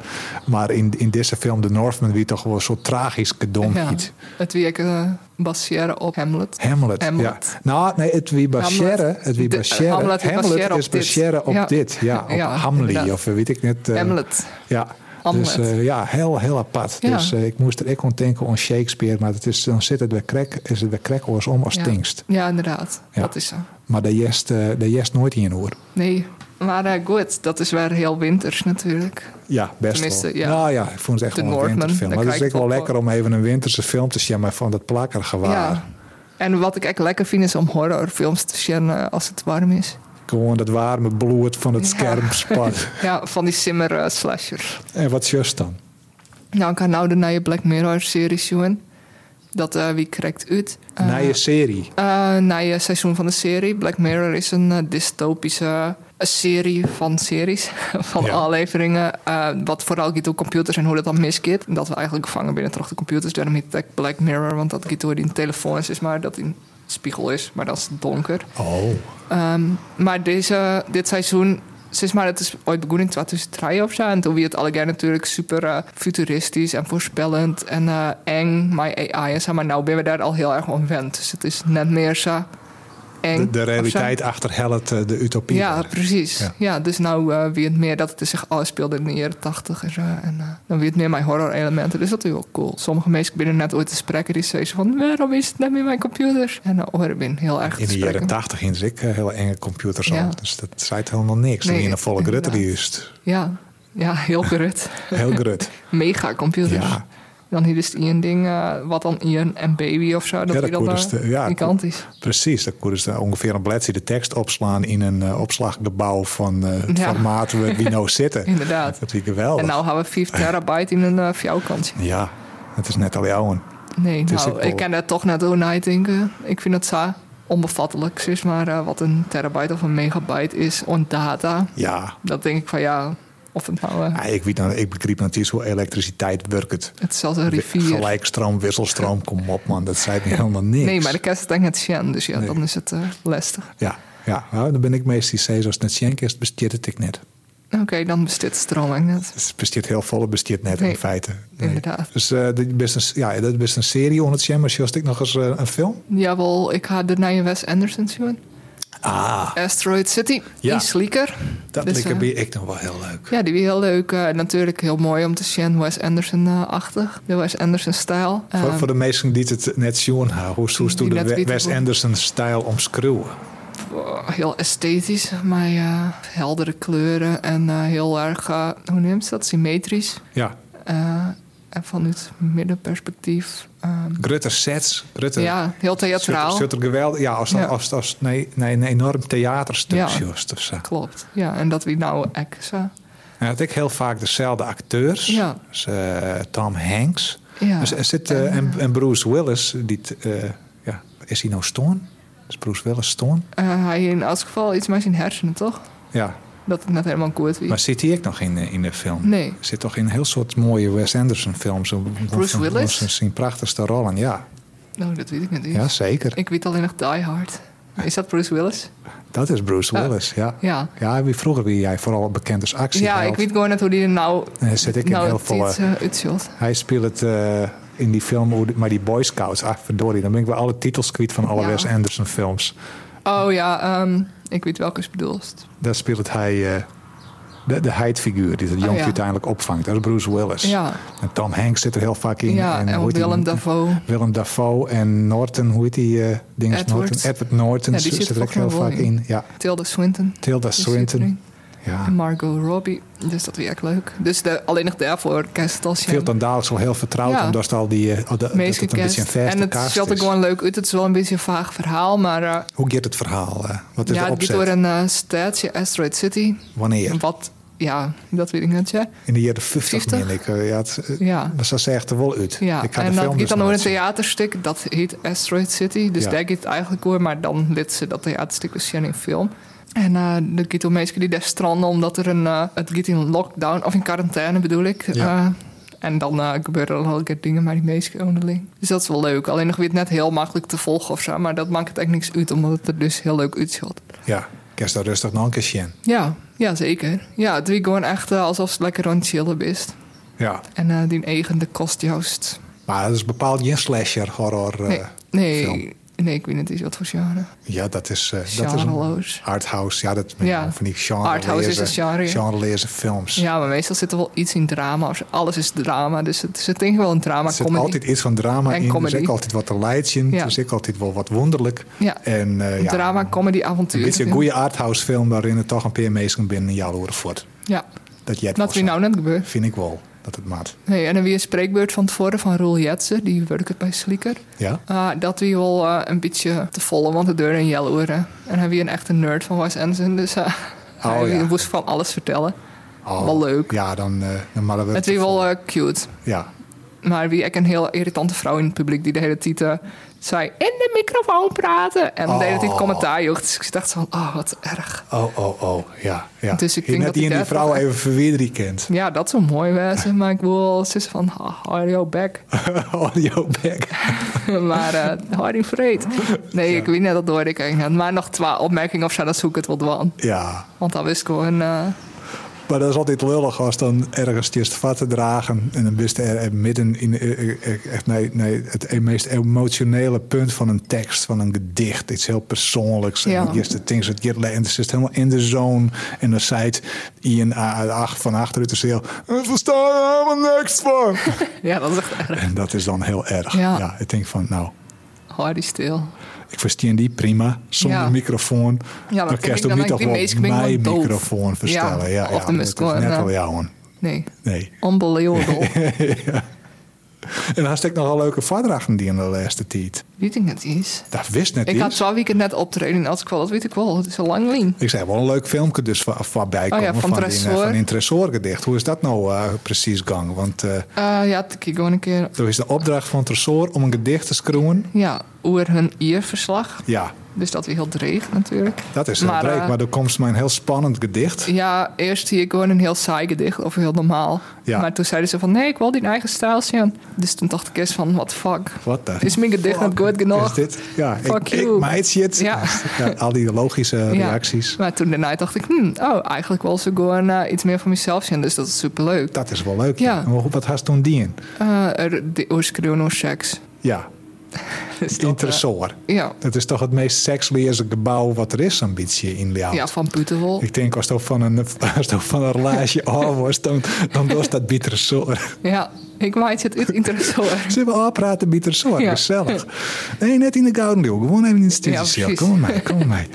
S2: Maar in, in deze film, de Northman, wie toch wel een soort tragisch gedom
S3: Ja,
S2: iets.
S3: het wie ik eh, baseren op Hamlet.
S2: Hamlet,
S3: Hamlet.
S2: ja. Nou, nee, het wie baseren, het wie
S3: De- eh,
S2: baseren.
S3: Hamlet
S2: Hamlet,
S3: wie baseren op
S2: is
S3: dit.
S2: baseren op
S3: Ja.
S2: dit. Ja, op
S3: Ja,
S2: Hamli,
S3: inderdaad.
S2: of eh, weet ik net. eh,
S3: Hamlet.
S2: Ja,
S3: Hamlet.
S2: dus eh, ja, heel, heel apart.
S3: Ja.
S2: Dus eh, ik moest er ik kon denken aan Shakespeare, maar het is, dan zit het bij krek, is het bij krek oors om als
S3: Ja.
S2: tingst.
S3: Ja, inderdaad.
S2: Ja.
S3: Dat is zo.
S2: Maar daar jest, eh, daar jest nooit in hoor.
S3: Nee, maar eh, goed, dat is weer heel winters natuurlijk.
S2: Ja, best wel.
S3: Tenminste, ja.
S2: Nou ja, ik vond het echt
S3: De
S2: wel een
S3: Northman,
S2: winterfilm.
S3: daar
S2: Maar het is
S3: krijg
S2: echt
S3: ik
S2: wel
S3: wel
S2: lekker om even een winterse film te zien, maar van dat plakkerige waar.
S3: Ja. En wat ik echt lekker vind is om horrorfilms te zien eh, als het warm is.
S2: Gewoon dat warme bloed van het
S3: Ja.
S2: scherm spat.
S3: Ja, van die simmer eh, slashers.
S2: en wat is just dan?
S3: Nou, ik ga nou de nieuwe Black Mirror serie zien. Dat eh, wie krijgt uit? Eh,
S2: Na je serie.
S3: eh, nieuwe seizoen van de serie. Black Mirror is een eh, dystopische eh, serie van series, van
S2: Ja.
S3: afleveringen. eh, wat vooral gaat door computers en hoe dat dan misgaat. Dat we eigenlijk gevangen binnen terug de computers. Daarom heet het echt Black Mirror, want dat gaat door die telefoons is, maar dat in spiegel is, maar dat is donker.
S2: Oh,
S3: Ehm, maar deze, dit seizoen, sinds maar het is ooit begonnen in 2003 of zo. En toen werd het allegaar natuurlijk super eh, futuristisch en voorspellend en eh, eng, my AI en zo. Maar nou ben we daar al heel erg aan gewend. Dus het is net meer zo eng.
S2: de, de
S3: of zo.
S2: realiteit achter Hellet, eh, de utopie.
S3: Ja,
S2: waren.
S3: precies.
S2: Ja.
S3: Ja. dus nou eh wie het meer dat het zich afspeelde in de jaren tachtig en zo. En eh, dan weer het meer mijn horror elementen. Dus dat is wel cool. Sommige mensen binnen net ooit te spreken die zeiden van waarom is het net met mijn computer? En dan hoor ik ben heel erg te
S2: In de
S3: spreken.
S2: jaren tachtig in ik eh, heel enge computers
S3: Ja.
S2: al. Dus dat zei helemaal niks.
S3: Nee,
S2: Nee, in een volle
S3: inderdaad.
S2: grutter juist.
S3: Ja, ja heel gerut.
S2: Heel grut.
S3: Mega computers.
S2: Ja.
S3: Dan hier is het één ding, eh, wat dan Ian en Baby of zo. Dat
S2: dat
S3: die dan,
S2: koerst,
S3: eh,
S2: eh, ja,
S3: Pikant is.
S2: Precies, dan konden ze ongeveer een bladzij de tekst opslaan in een eh, opslaggebouw van eh, het
S3: Ja.
S2: formaat waar we nou zitten.
S3: Inderdaad.
S2: Oh, Dat is geweldig.
S3: En nou hebben we 5 terabyte in een eh vierkantje.
S2: Ja, het is net al jouw.
S3: Nee,
S2: is
S3: nou,
S2: ook wel-
S3: ik ken dat toch net hoe na je denken. Ik vind het zo onbevattelijk. Zeg maar eh, wat een terabyte of een megabyte is on data.
S2: Ja.
S3: Dat denk ik van ja, of het nou... eh,
S2: Ja, ik, weet nou, ik begreep natuurlijk hoe elektriciteit werkt.
S3: het is als een rivier.
S2: Gelijkstroom, wisselstroom, kom op man, dat zei me helemaal niks.
S3: Nee, maar de kerst het denk ik net zien. Dus ja,
S2: Nee.
S3: dan is het eh, lastig.
S2: Ja, ja nou, dan ben ik meestal zo, als het net schenk is, bestiert het ik net.
S3: Oké, dan besteedt strooming net.
S2: Het bestiert heel vol, het bestiert net in
S3: Nee,
S2: feite. Nee.
S3: inderdaad.
S2: Dus eh, dit is een, ja, dat is een serie onder het schenk, maar zoals ik nog eens eh, een film?
S3: Jawel, ik ga de nieuwe Wes Anderson zien.
S2: Ah,
S3: Asteroid City,
S2: Ja.
S3: die slieker.
S2: dat
S3: Dus,
S2: dus,
S3: eh,
S2: bij ik nog wel heel leuk.
S3: Ja, die was heel leuk. eh, natuurlijk heel mooi om te zien. Wes Anderson-achtig. De Wes Anderson-stijl.
S2: voor,
S3: Eh,
S2: voor de mensen die het net zien houden, hoe hoe
S3: Die
S2: doe de
S3: net
S2: We-
S3: weten
S2: Wes
S3: hoe-
S2: Anderson-stijl omschreeuwen?
S3: Oh, heel esthetisch, maar eh, heldere kleuren en eh, heel erg, eh, hoe noem je dat, symmetrisch.
S2: Ja,
S3: Eh, en vanuit middenperspectief. ehm,
S2: Grutter sets, Grutter...
S3: ja, heel theatraal.
S2: Zult er geweldig... Ja, als,
S3: Ja.
S2: als, als nee, nee, een enorm theaterstuk
S3: Ja.
S2: zoals of zo.
S3: Klopt. Ja, en dat wie nou echt zo.
S2: En dat ik heel vaak dezelfde acteurs.
S3: Ja.
S2: Dus, eh, Tom Hanks.
S3: Ja.
S2: Dus er zit, eh, en, en Bruce Willis, die, t- eh, ja, is hij nou stoorn? Is Bruce Willis stoorn?
S3: Eh, hij in elk geval iets met zijn hersenen, toch?
S2: Ja,
S3: Dat het net helemaal goed
S2: maar
S3: was.
S2: zit hij ook nog in, eh, in de film?
S3: Nee.
S2: Zit toch in een heel soort mooie Wes Anderson films.
S3: Bruce Willis?
S2: Zijn prachtigste rollen, ja.
S3: Nou, dat weet ik niet. eens.
S2: Ja, zeker.
S3: Ik weet alleen nog Die Hard. Is dat Bruce Willis?
S2: Dat is Bruce
S3: Ah,
S2: Willis, ja.
S3: ja.
S2: Ja, wie vroeger wie jij vooral bekend als actie
S3: ja, ik weet gewoon net hoe die er nou...
S2: Daar zit ik in
S3: nou
S2: heel
S3: het
S2: veel,
S3: iets, eh, uitziet.
S2: Hij speelt het eh, in die film, hoe die- maar die Boy Scouts. Ah, verdorie, dan ben ik wel alle titels kwijt van alle
S3: Ja.
S2: Wes Anderson films.
S3: Oh ja, ehm, ik weet welke je bedoelt.
S2: Daar speelt hij eh, de, de heidfiguur die het jongetje
S3: Ah, ja.
S2: uiteindelijk opvangt. Dat is Bruce Willis.
S3: Ja.
S2: En Tom Hanks zit er heel vaak in.
S3: Ja, en,
S2: hoe heet die-
S3: Willem Dafoe.
S2: Willem Dafoe en Norton, hoe heet die eh ding?
S3: Edward.
S2: Norton? Edward Norton
S3: Ja, die
S2: zit,
S3: zit
S2: er ook
S3: fucking
S2: heel vaak
S3: wel
S2: in. Ja,
S3: Tilda Swinton.
S2: Tilda
S3: die zit erin.
S2: Swinton. Ja.
S3: En Margot Robbie. Dus dat weer echt leuk. Dus de, alleen nog daarvoor kerst het als je
S2: Veel dan dadelijk wel heel vertrouwd,
S3: Ja.
S2: omdat het al die, eh, dat dat het
S3: meest
S2: een beetje een
S3: gecast. En
S2: verste
S3: het is
S2: kaart
S3: altijd
S2: is.
S3: gewoon leuk uit. Het is wel een beetje een vaag verhaal, maar... eh,
S2: Hoe gaat het verhaal? eh? wat is
S3: ja,
S2: de
S3: het gaat door
S2: opzet?
S3: een eh, stadje, Asteroid City.
S2: Wanneer?
S3: Wat, ja, dat weet ik niet, ja.
S2: In de jaren 50,
S3: 50?
S2: meen ik. Eh, Ja, het, eh,
S3: Ja.
S2: Maar ze zegt er wel uit.
S3: Ja,
S2: ik ga de
S3: en
S2: film
S3: dat
S2: dus
S3: gaat dan
S2: nog
S3: over een
S2: niet zien.
S3: theaterstuk, dat heet Asteroid City. Dus
S2: Ja.
S3: daar gaat het eigenlijk over, maar dan liet ze dat theaterstuk weer zien in film. En eh de gaat om mensen die daar stranden, omdat er een, eh, het gaat in lockdown, of in quarantaine bedoel ik.
S2: Ja.
S3: Eh, en dan eh, gebeuren er al keer dingen maar die mensen onderling. Dus dat is wel leuk. Alleen nog weer net heel makkelijk te volgen of zo. Maar dat maakt het echt niks uit, omdat het er dus heel leuk uitziet.
S2: Ja, kerst daar rustig nog een keer zien.
S3: Ja, ja zeker. Ja, het wie gewoon echt eh, alsof het lekker aan het chillen is.
S2: Ja.
S3: En eh, die eigen de kostjoost.
S2: Maar dat is bepaald geen slasher horror. eh,
S3: Nee, nee,
S2: film.
S3: nee, ik weet niet eens wat voor genre.
S2: ja, dat is, eh dat is een
S3: Genreloos.
S2: arthouse. Ja, dat
S3: Ja.
S2: van die genre
S3: Arthouse is een genre, ja.
S2: genrelezen films.
S3: Ja, maar meestal zit er wel iets in drama. Of alles is drama, dus het zit denk ik wel een drama.
S2: er zit
S3: comedy.
S2: altijd iets van drama
S3: En
S2: in. Er
S3: comedy.
S2: is ook altijd wat te leidje.
S3: Ja.
S2: Er is ook altijd wel wat wonderlijk.
S3: Ja.
S2: En, eh,
S3: Een
S2: ja,
S3: drama, comedy,
S2: Een
S3: avontuur.
S2: beetje een goede arthouse film waarin het toch een paar mensen binnen een jaar horen voort.
S3: Ja,
S2: Dat jij het
S3: dat
S2: wel
S3: wie nou net gebeurt.
S2: zo- Vind ik wel, dat het maat.
S3: Nee, en dan weer een spreekbeurt van tevoren van Roel Jetsen, die werkt het bij Slieker.
S2: Ja?
S3: Ah, dat wie wel eh, een beetje te volle, want de deur in jelle En hij wie een echte nerd van Wes Anderson, dus eh, hij
S2: ja.
S3: wie moest van alles vertellen.
S2: Oh,
S3: Wel leuk.
S2: Ja, dan, eh dan maar we
S3: Het wie wel eh, cute.
S2: Ja,
S3: Maar wie ik een heel irritante vrouw in het publiek die de hele tijd eh, zei in de microfoon praten. En de hele tijd
S2: Oh.
S3: commentaar joeg. Dus ik dacht van, oh wat erg.
S2: Oh, oh, oh, ja. ja.
S3: Dus ik
S2: Net
S3: denk dat
S2: die
S3: ik
S2: en die
S3: daar
S2: vrouw
S3: toch-
S2: even verwijderen kent.
S3: Ja, dat zou mooi wezen. Maar ik wil ze is van, "Ha, hou jou back.
S2: Audio back.
S3: maar eh hou die vreed. Nee, ik weet niet, dat hoorde ik eigenlijk net. Maar nog twee opmerkingen of zo, dat zoek ik het wel doen.
S2: Ja,
S3: Want dan wist ik gewoon, eh,
S2: Maar dat is altijd lullig als dan ergens je vat te dragen. En dan wist er er midden in eh, eh, echt, nee, nee, het e- meest emotionele punt van een tekst, van een gedicht. Iets heel persoonlijks.
S3: Ja.
S2: En eerste things that get laid. En het zit helemaal in de zone. En dan zei het Ian A- A- van achteruit. Dus heel, "Ik versta er helemaal niks van.
S3: Ja, dat is echt erg.
S2: en dat is dan heel erg.
S3: Ja.
S2: ja ik denk van, nou,
S3: Hou die stil.
S2: ik verstaan die prima, zonder
S3: Ja.
S2: microfoon.
S3: Ja, dat
S2: dan
S3: vind ik
S2: kerst ook
S3: dan
S2: niet
S3: eigenlijk
S2: toch
S3: die
S2: wel
S3: meest klinkt
S2: mijn
S3: wel doof.
S2: microfoon verstellen. Ja, ja,
S3: of de
S2: dat is
S3: muskoen,
S2: net
S3: ja.
S2: wel jouw.
S3: Nee,
S2: Nee.
S3: unbelievable.
S2: En had ik nogal leuke vadrachten die in de laatste tijd.
S3: Weet ik net iets.
S2: Dat wist net
S3: Ik had
S2: iets.
S3: zo'n weekend net optreden als ik wel, dat weet ik wel. Het is een lang lien.
S2: Ik zei wel een leuk filmpje dus voor- voorbij
S3: Oh ja,
S2: komen
S3: van
S2: van, die, eh,
S3: Tresor.
S2: van in Tresor gedicht. Hoe is dat nou eh, precies gang? Want eh
S3: Eh, ja, ik gewoon een keer.
S2: er is de opdracht van Tresor om een gedicht te scroeien.
S3: Ja, oer hun ierverslag.
S2: Ja,
S3: Dus dat weer heel dreig natuurlijk.
S2: dat is heel
S3: Maar,
S2: breed.
S3: eh,
S2: maar er komt mijn heel spannend gedicht.
S3: Ja, eerst zie ik gewoon een heel saai gedicht, of heel normaal.
S2: Ja.
S3: Maar toen zeiden ze van, nee, ik wil die eigen stijl zien. Dus toen dacht ik eerst van, what the fuck.
S2: Wat de
S3: Is mijn gedicht
S2: fuck
S3: niet goed genoeg?
S2: Is dit? Ja,
S3: Fuck
S2: ik, ik
S3: you.
S2: meid shit.
S3: Ja.
S2: Ja, al die logische
S3: Ja.
S2: reacties.
S3: Maar toen daarna dacht ik, hm, oh, eigenlijk wil ze gewoon eh, iets meer van mezelf zien. Dus dat is superleuk.
S2: Dat is wel leuk.
S3: Ja.
S2: En hoe- wat had ze toen die in?
S3: Eh, er- de oorskroon seks.
S2: Ja,
S3: Dus dat, eh,
S2: Interessoor.
S3: Ja.
S2: Dat is toch het meest seksleerse gebouw wat er is, een beetje in Liao.
S3: ja, van Putewol.
S2: Ik denk, als dat van een, als dat van een relatie af was, dan, dan was dat bittersoor.
S3: Ja, ik maak het uit interessant.
S2: Ze hebben al praten bittersoor,
S3: Ja.
S2: gezellig. Nee, net in de Gouden Leeuw. Gewoon even in de studie.
S3: Ja, precies.
S2: kom maar mee, kom maar mee.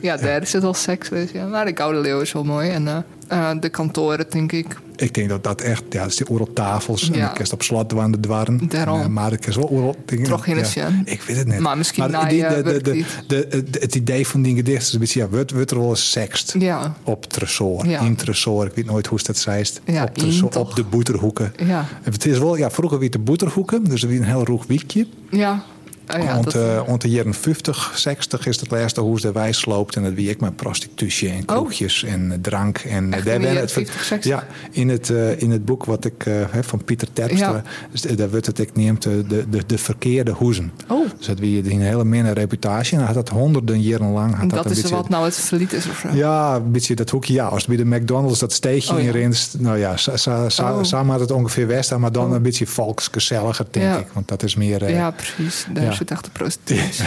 S3: Ja, daar zit al seks. Dus, ja. Maar de Gouden Leeuw is wel mooi. En eh, eh, de kantoren, denk ik.
S2: Ik denk dat dat echt, ja, dat is die oor op tafels. En
S3: Ja.
S2: dan kerst op slot aan de dwarren.
S3: Daarom.
S2: En, eh, maar ik is wel oor op... ik denk-
S3: Toch geen zin.
S2: Ik weet het net.
S3: Maar misschien na
S2: die-
S3: je
S2: de, de, de,
S3: werktijd.
S2: de, de- Het idee van die gedicht is een beetje, ja, wordt wordt er wel eens sekst.
S3: Ja,
S2: Op Tresor,
S3: Ja.
S2: in Tresor. Ik weet nooit hoe ze dat zeist.
S3: Ja,
S2: op, Tresor,
S3: in
S2: op de boeterhoeken.
S3: Ja.
S2: En Het is wel, ja, vroeger wie de boeterhoeken, dus wie een heel roeg wiekje.
S3: ja. Ah, ja,
S2: Rond
S3: dat-
S2: eh, rond de jaren 50, 60 is het laatste hoe ze de wijs loopt. En dat wie ik met prostitutie en kroegjes en eh, drank. En eh,
S3: Oh. Echt in de
S2: ben-
S3: jaren
S2: het ver-
S3: 50, 60?
S2: Ja, in het, eh, in het boek wat ik eh, heb van Pieter Terpstra.
S3: Ja.
S2: Dus, eh, daar wordt het, ik neem de, de, de, de verkeerde hoezen.
S3: Oh.
S2: Dus dat wie een hele minne reputatie. En dan had dat honderden jaren lang. Had
S3: dat
S2: een
S3: is
S2: beetje-
S3: wat nou het verliet is of zo.
S2: ja, een beetje dat hoekje. Ja, als bij de McDonald's dat steekje
S3: Oh, ja.
S2: in rinst. Nou ja, sa, sa, sa,
S3: Oh.
S2: samen had het ongeveer West, maar dan een beetje volksgezelliger, denk
S3: Ja.
S2: ik. Want dat is meer. eh,
S3: Ja, precies. Daar
S2: Ja.
S3: zit echt de prostitutie.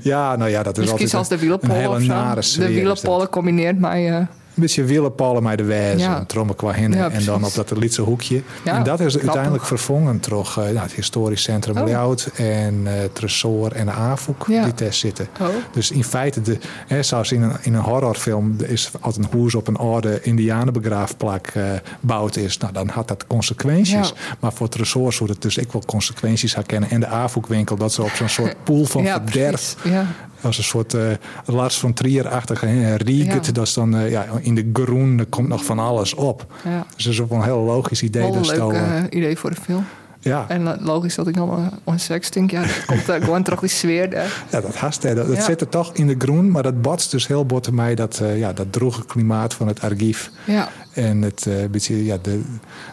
S2: ja, nou ja, dat is
S3: Misschien
S2: altijd
S3: zelfs
S2: een-
S3: de wielenpollen
S2: Een hele
S3: of zo.
S2: nare sfeer.
S3: de
S2: is dat.
S3: wielenpollen combineert mij. eh,
S2: Een beetje wielenpollen met de wijze.
S3: Ja.
S2: en Trommen qua hinnen.
S3: Ja,
S2: en dan
S3: precies.
S2: op dat Lietse hoekje.
S3: Ja,
S2: en dat is
S3: grappig.
S2: uiteindelijk vervangen door eh, nou, het historisch centrum
S3: Oh.
S2: Ljout en eh Tresor en de AFOEK
S3: Ja.
S2: die daar zitten.
S3: Oh.
S2: Dus in feite, de, hè, zoals in een, in een horrorfilm er is als een hoes op een oude indianenbegraafplak eh bouwd is, nou, dan had dat consequenties.
S3: Ja.
S2: Maar voor Tresor zou het dus ik wel consequenties herkennen. En de AFOEK-winkel, dat ze op zo'n soort pool van
S3: ja,
S2: verderf
S3: precies. Ja.
S2: als een soort eh, Lars van Trier-achtige hè, Riegert.
S3: Ja.
S2: Dat is dan eh, ja, in de groen, er komt nog van alles op.
S3: Ja.
S2: Dus dat is ook wel een heel logisch idee.
S3: Wel een
S2: dat
S3: leuk
S2: zo, eh,
S3: eh, idee voor de film.
S2: ja.
S3: En lo- logisch dat ik allemaal on seks denk. Ja, dat komt daar gewoon terug die sfeer daar.
S2: ja, dat haast. hè. Dat, dat
S3: Ja.
S2: zit er toch in de groen, maar dat botst dus heel bot mij dat, eh, ja, dat droege klimaat van het archief.
S3: Ja,
S2: En het, eh, beetje, ja, de,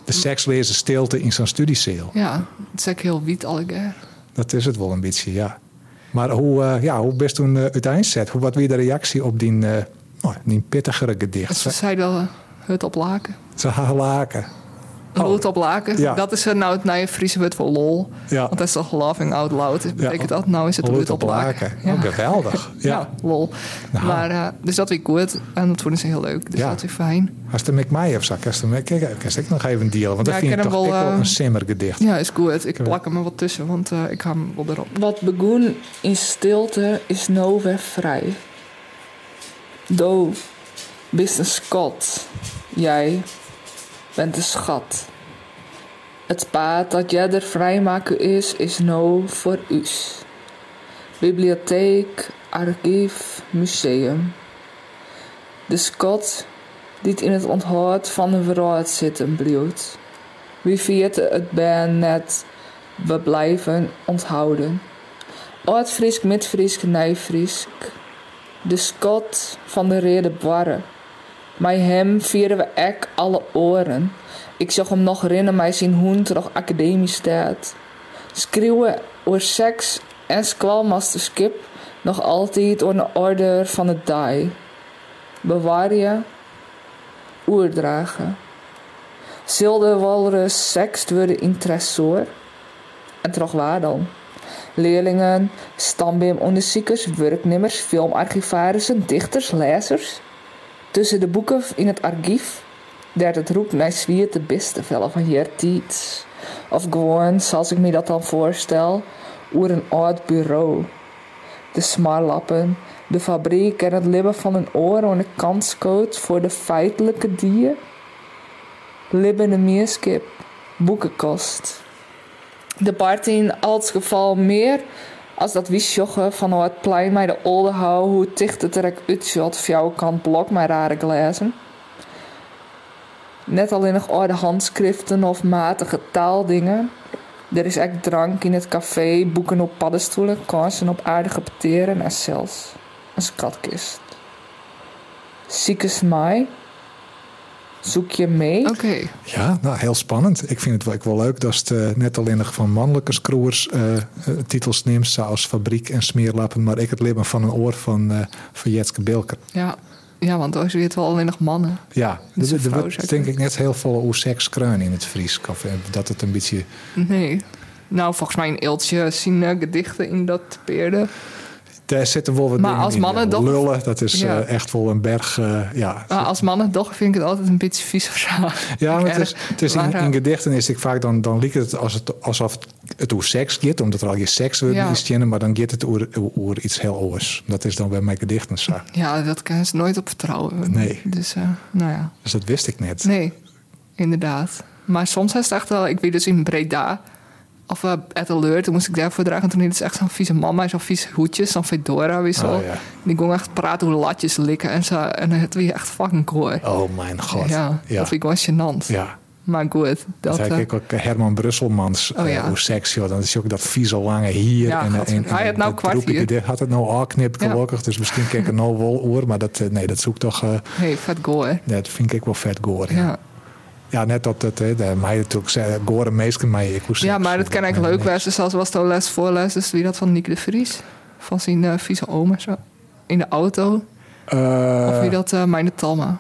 S2: de sekslezen stilte in zo'n studieceel.
S3: ja. Het is ook heel wiet allegaar.
S2: Dat is het wel een beetje, ja. Maar hoe, eh, ja, hoe best toen eh uiteindelijk zet? Hoe, wat weer de reactie op die, eh, oh, die pittigere gedicht?
S3: Ze
S2: Ze,
S3: zei wel eh, hut op laken.
S2: ze laken. Oh.
S3: Hut op laken.
S2: Ja.
S3: Dat is eh, nou het nieuwe Friese woord voor lol.
S2: Ja.
S3: Want dat is toch laughing out loud. Dat betekent dat nou is het hut op laken.
S2: Ja.
S3: Ja.
S2: Oh, geweldig.
S3: Ja,
S2: Ja.
S3: lol.
S2: Nou.
S3: Maar, eh, dus dat weer goed. En dat vonden ze heel leuk. Dus
S2: Ja.
S3: dat weer fijn.
S2: Als de McMeijer zak, als de Mc- kijk, kan ik nog even dealen. Want
S3: Ja,
S2: dat
S3: ik
S2: vind ik
S3: ken
S2: toch wel,
S3: hem wel,
S2: wel
S3: eh,
S2: een simmergedicht.
S3: Ja, is goed. Ik plak hem er wat tussen, want eh, ik hou hem wel erop.
S4: Wat begon in stilte is nou weer vrij. Do, bist een schat. Jij bent een schat. Het paad dat jij er vrijmaken is, is nou voor us. Bibliotheek, archief, museum. De schat die in het onthoud van een verraad zitten blijft. Wie viert het ben net we blijven onthouden. Oud-Friesk, Mid-Friesk, Nijfriesk. De Scot van de Rede Barre. Bij hem vieren we ek alle oren. Ik zag hem nog rinnen, mij zien hoen toch academie staat. Schreeuwen over seks en squalmaster skip. Nog altijd onder orde van het die. Bewaar je. oerdragen. Zil de walrus seks worden in tresor? En toch waar dan? Leerlingen, stambeemonderzoekers, werknemers, filmarchivarissen, dichters, lezers. Tussen de boeken in het archief, daar het roept mij zwier de beste vellen van hier tiets. Of gewoon, zoals ik me dat dan voorstel, oer een oud bureau. De smarlappen, de fabriek en het libben van een oor en een kanscoat voor de feitelijke dier. Libben een meerskip, boekenkost. De party in elk geval meer als dat wie sjoggen van hoe het plein mij de olde hou, hoe ticht het er ik uitzot, van jouw kant blok mijn rare glazen. Net alleen nog oude handschriften of matige taaldingen. Er is echt drank in het café, boeken op paddenstoelen, kansen op aardige pteren en zelfs een schatkist. Ziekes mij. Zoek je mee?
S3: Oké,
S2: Ja, nou heel spannend. Ik vind het wel, ik wel leuk dat het eh, net alleen nog van mannelijke scroers eh, eh, titels neemt, zoals Fabriek en Smeerlappen, maar ik het libben van een oor van, eh van Jetske Bilker.
S3: ja. Ja, want dan zie je het wel alleen nog mannen.
S2: Ja,
S3: Dat
S2: er
S3: is een
S2: er
S3: vrouw,
S2: wordt
S3: zeker.
S2: denk ik net heel veel oer seks kruin in het Fries. Of, eh, Dat het een beetje,
S3: Nee. Nou, volgens mij een eeltje zien eh, gedichten in dat peerde.
S2: daar zitten wel wat
S3: Maar
S2: dingen
S3: als
S2: in.
S3: mannen toch-
S2: Lullen, dat is
S3: Ja. Ah,
S2: eh, echt wel een berg, eh, ja.
S3: Maar als mannen toch vind ik het altijd een beetje vies of zo.
S2: Ja, maar het
S3: Erg.
S2: is, het is in,
S3: Maar, eh,
S2: in gedichten is ik vaak dan, dan liek het, als het alsof het over seks gaat, omdat er al je seks wordt
S3: Ja.
S2: is kennen, maar dan gaat het over, over iets heel anders. Dat is dan bij mijn gedichten zo.
S3: Ja, dat kunnen ze nooit op vertrouwen.
S2: Nee.
S3: Dus, eh, nou ja.
S2: Dus dat wist ik net.
S3: Nee, inderdaad. Maar soms is het echt wel... Ik weet dus in Breda... Of eh at Alert, toen moest ik daarvoor dragen. Toen is het echt zo'n vieze man, maar zo'n vieze hoedjes. Zo'n fedora, weet je wel.
S2: Oh, ja.
S3: Die ging echt praten hoe latjes likken en zo. En het was echt fucking goor.
S2: Oh mijn god.
S3: Ja,
S2: ja.
S3: dat vind ik wel gênant.
S2: Ja.
S3: Maar goed,
S2: Dat
S3: dat...
S2: heb
S3: eh,
S2: ik ook Herman Brusselmans
S3: Oh,
S2: eh,
S3: ja.
S2: over seks, joh. Dan is je ook dat vieze lange hier.
S3: Ja,
S2: en,
S3: godver- hij had nou
S2: dat
S3: kwart
S2: roep ik
S3: hier.
S2: gedicht- had het nou al knip
S3: Ja.
S2: gelukkig, dus misschien kijk ik er nou wel oor, maar dat, eh, nee, dat zoek toch, eh,
S3: hey, vet goor.
S2: dat vind ik wel vet gore. Ja.
S3: Ja.
S2: Ja, net dat het, hè, de meiden natuurlijk zei, gore meesken, maar ik hoef
S3: ja,
S2: seks.
S3: maar dat kan eigenlijk
S2: Nee,
S3: leuk
S2: nee.
S3: wezen. Zoals was de les voor les, dus wie dat van Nieke de Vries. Van zijn eh, vieze oma zo. In de auto.
S2: Eh,
S3: Of wie dat, eh Mijn Talma.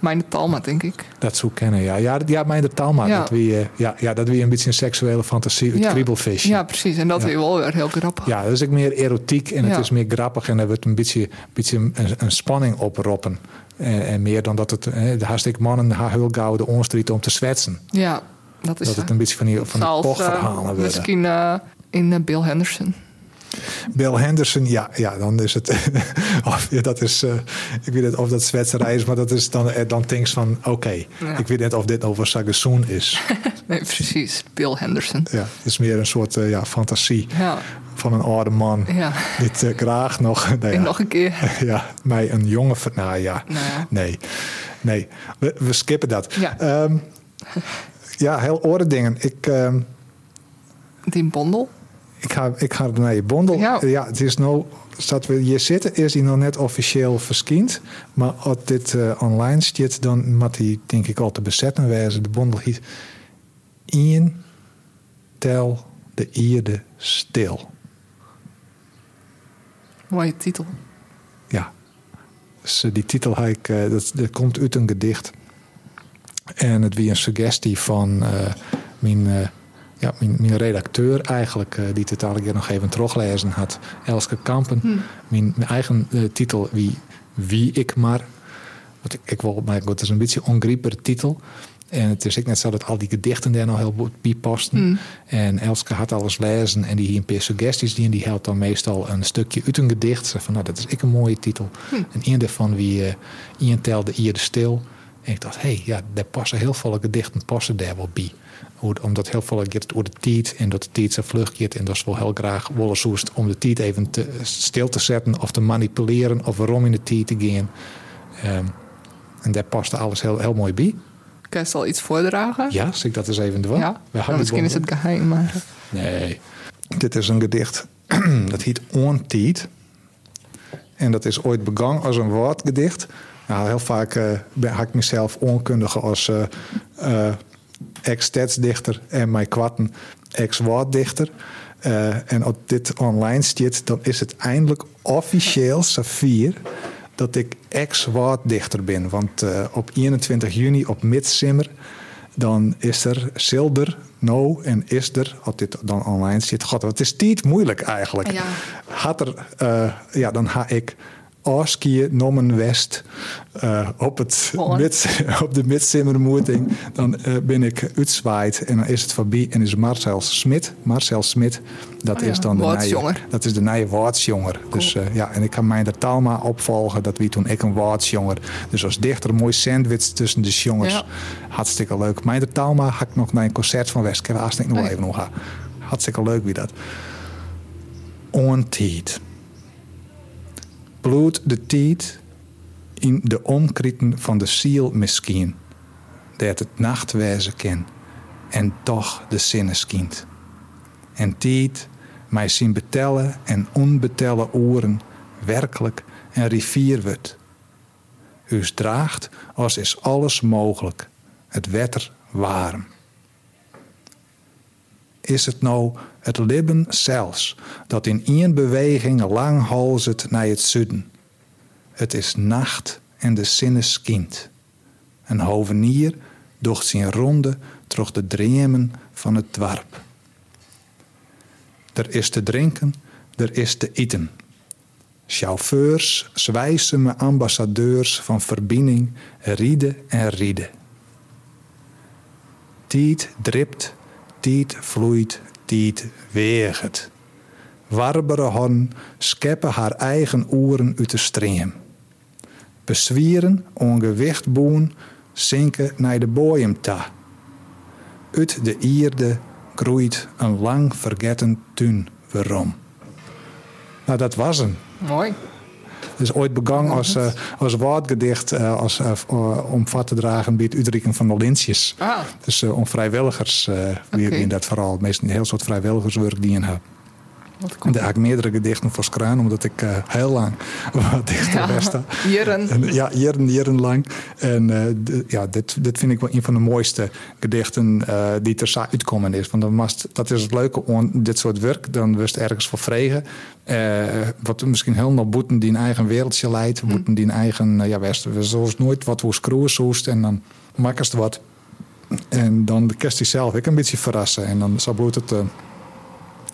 S3: Mijn Talma, denk ik.
S2: Dat zou kennen, ja. Ja, dat- ja mijn taalmaat.
S3: Ja.
S2: Dat wie, eh, ja, ja, dat wie een beetje een seksuele fantasie, het
S3: Ja.
S2: kriebelvisje.
S3: Ja, precies. En dat
S2: Ja.
S3: weer wel weer heel grappig.
S2: Ja, dat is ook meer erotiek en het
S3: Ja.
S2: is meer grappig en er wordt een beetje, beetje een, een spanning oproppen. En, en meer dan dat het, eh, de hartstikke mannen haar heel gauw de onstrijd om te zwetsen.
S3: Dus Ja, dat is
S2: Dat
S3: zo.
S2: het een beetje van die, van die
S3: Zoals, eh,
S2: pochverhalen worden.
S3: Misschien eh, in eh, Bill Henderson.
S2: Bill Henderson, ja, ja dan is het. of, ja, dat is, eh, ik weet niet of dat zwetserij is, maar dat is dan, eh, dan things van: oké,
S3: Ja.
S2: ik weet niet of dit over Sagassoen is.
S3: Nee, precies. Bill Henderson.
S2: ja, het is meer een soort eh, ja, fantasie
S3: Ja,
S2: van een oude man.
S3: ja.
S2: Dit eh, graag nog. Nou ja,
S3: En nog een keer.
S2: ja, mij een jongen. ver- Nou ja,
S3: Nou ja.
S2: nee. Nee, we, we skippen dat.
S3: Ja.
S2: Ehm, ja, heel orde dingen. Ik, ehm,
S3: Die bondel.
S2: ik, ga, ik ga naar je bondel.
S3: Ja.
S2: ja, het is nou, zat we hier zitten, is die nog net officieel verskiend. Maar als dit eh, online zit, dan moet die denk ik al te bezetten wijzen. De bondel hiet Ian tel de ierde stil.
S3: Mooie titel.
S2: Ja. Dus eh, die titel had ik, eh, dat, dat komt uit een gedicht. En het wie een suggestie van eh, mijn, eh, ja, mijn, mijn redacteur eigenlijk, eh, die het eigenlijk nog even teruglezen had, Elske Kampen. Mijn, mijn eigen eh, titel, wie, wie ik maar. Wat ik, ik wil, maar goed, het is een beetje een ongrieper titel. En het is ik net zo dat al die gedichten daar nog heel goed bij pasten. En Elske had alles lezen en die hier een paar suggesties die en die helpt dan meestal een stukje uit een gedicht. Ze van nou, dat is ik een mooie titel. En een daarvan wie eh Ian telde Ier de stil. En ik dacht, hé, hey, ja, daar passen heel veel gedichten passen daar wel bij. Hoe- Omdat heel veel gaat door de tijd en dat de tijd zo vlug gaat. En dat is wel heel graag wollen soest om de tijd even te, stil te zetten of te manipuleren of waarom in de tijd te gaan. Ehm, en daar paste alles heel, heel mooi bij.
S3: Kan je al iets voordragen?
S2: Ja, zie ik dat eens even door.
S3: Ja?
S2: We
S3: Nou,
S2: hadden
S3: misschien is het geheim, maar... eh,
S2: Nee. Dit is een gedicht dat heet Ontied. En dat is ooit begang als een woordgedicht. Nou, heel vaak eh, ben had ik mezelf onkundige als eh, eh, ex-stadsdichter en mijn kwatten ex-woorddichter. Eh, en als dit online zit, dan is het eindelijk officieel Safir dat ik ex wat dichter ben. Want eh, op 21 juni op Midsummer, dan is er Silder, No en is er, als dit dan online zit. God, wat is dit moeilijk eigenlijk.
S3: Ja.
S2: Had er, eh, ja, dan ga ik Oskie Nommen West eh, op, het
S3: Mooi.
S2: mid, op de Midsummermoeting. Dan eh, ben ik uitzwaaid en dan is het voorbij en is Marcel Smit. Marcel Smit, dat
S3: Oh ja,
S2: is dan de
S3: woordsjonger.
S2: nieuwe- dat is de nieuwe woordsjonger. Dus eh, ja, en ik kan mijn Talma opvolgen. Dat wie toen ik een woordsjonger. Dus als dichter een mooi sandwich tussen de jongens.
S3: Ja.
S2: Hartstikke leuk. Mijn Talma ga ik nog naar een concert van West. Ik heb haast niet nog
S3: Oh
S2: wel
S3: ja.
S2: even nog gaan. Hartstikke leuk wie dat. Ontied. Bloed de tiet in de omkrieten van de ziel misschien. Dat het nacht wezen kan en toch de zinnen skient. En tiet mij zien betellen en onbetellen oren werkelijk een rivier wordt. Us draagt als is alles mogelijk, het wetter warm. Is het nou het libben zelfs dat in één beweging lang halzet naar het zuiden? Het is nacht en de zinnen skient. Een hovenier docht zijn ronde troch de dremen van het dwarp. Er is te drinken, er is te eten. Chauffeurs, zwijzen me ambassadeurs van verbinding, rieden en rieden. Tiet dript, tiet vloeit, tiet weegt. Warbere horn scheppen haar eigen oeren uit de stream. Bezwieren, ongewicht boen, zinken naar de boeiem ta. Uit de ierde groeit een lang vergetten tuin weerom. Nou, dat was hem.
S3: Mooi.
S2: Het is ooit begang als, eh, als woordgedicht eh, als, eh, eh, om vat te dragen bij het uitreiken van de lintjes.
S3: Ah,
S2: Dus eh, om vrijwilligers, eh wie
S3: Oké.
S2: wie dat vooral. Meestal een heel soort vrijwilligerswerk die je hebt.
S3: wat
S2: En
S3: komt
S2: daar heb ik meerdere gedichten voor skraan, omdat ik eh, heel lang wat dichter was. sta.
S3: Jeren.
S2: En, ja, jaren, jaren lang. En eh, d- ja, dit, dit vind ik wel een van de mooiste gedichten eh, die ter sa uitkomen is. Want dan mast, dat is het leuke aan dit soort werk. Dan wist ergens voor vregen. Eh, wat misschien helemaal boeten die een eigen wereldje
S3: Mm.
S2: leidt. Boeten die een eigen, eh, ja, west, we zullen nooit wat hoe screwen zoest. En dan maken ze wat. En dan de kerst die zelf ik een beetje verrassen. En dan zo bloedt het. eh,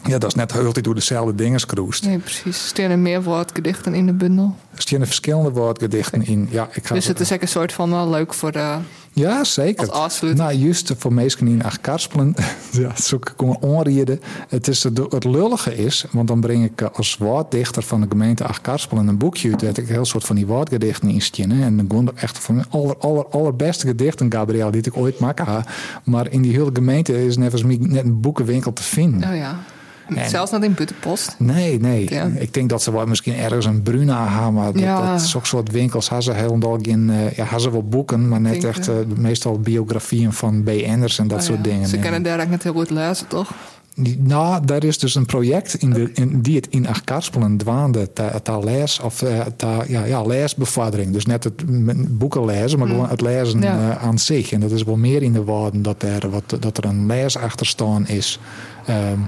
S2: ja, dat is net heel die door dezelfde dingen scroest.
S3: Nee, precies. Er staan er meer woordgedichten in de bundel.
S2: Er staan verschillende woordgedichten in. Ja, ik ga
S3: Dus het is echt een soort van wel leuk voor eh, de...
S2: Ja, zeker.
S3: Als afsluiter.
S2: Nou, juist voor mensen die in acht karspelen, ja, zoek ik om onreden. Het, is het, het lullige is, want dan breng ik eh, als woorddichter van de gemeente acht karspelen een boekje uit. Dat ik een heel soort van die woordgedichten in schinnen. En dan kon er echt van mijn aller, aller, allerbeste gedichten, Gabriel, die ik ooit maken had. Maar in die hele gemeente is net als mij net een boekenwinkel te vinden.
S3: Nou ja.
S2: En-
S3: Zelfs niet in Buttenpost.
S2: Nee, nee.
S3: Ja.
S2: Ik denk dat ze wel misschien ergens een Bruna hebben. maar Dat,
S3: Ja.
S2: dat soort soort winkels hebben ze helemaal in. eh ja, hebben ze wel boeken, maar net
S3: Denk
S2: echt
S3: wel.
S2: eh, meestal biografieën van BN'ers en dat
S3: Oh ja.
S2: soort dingen.
S3: Ze
S2: En
S3: kunnen daar eigenlijk net heel goed lezen, toch?
S2: die- Nou, daar is dus een project in de, in, die het in Achkarspelen dwaande, ta, ta les, of eh, ta, ja, ja, lesbevordering. Dus net het m- boeken lezen, maar gewoon het lezen
S3: Mm. Ja.
S2: eh, aan zich. En dat is wel meer in de woorden dat er, wat, dat er een les achter staan is. Ehm,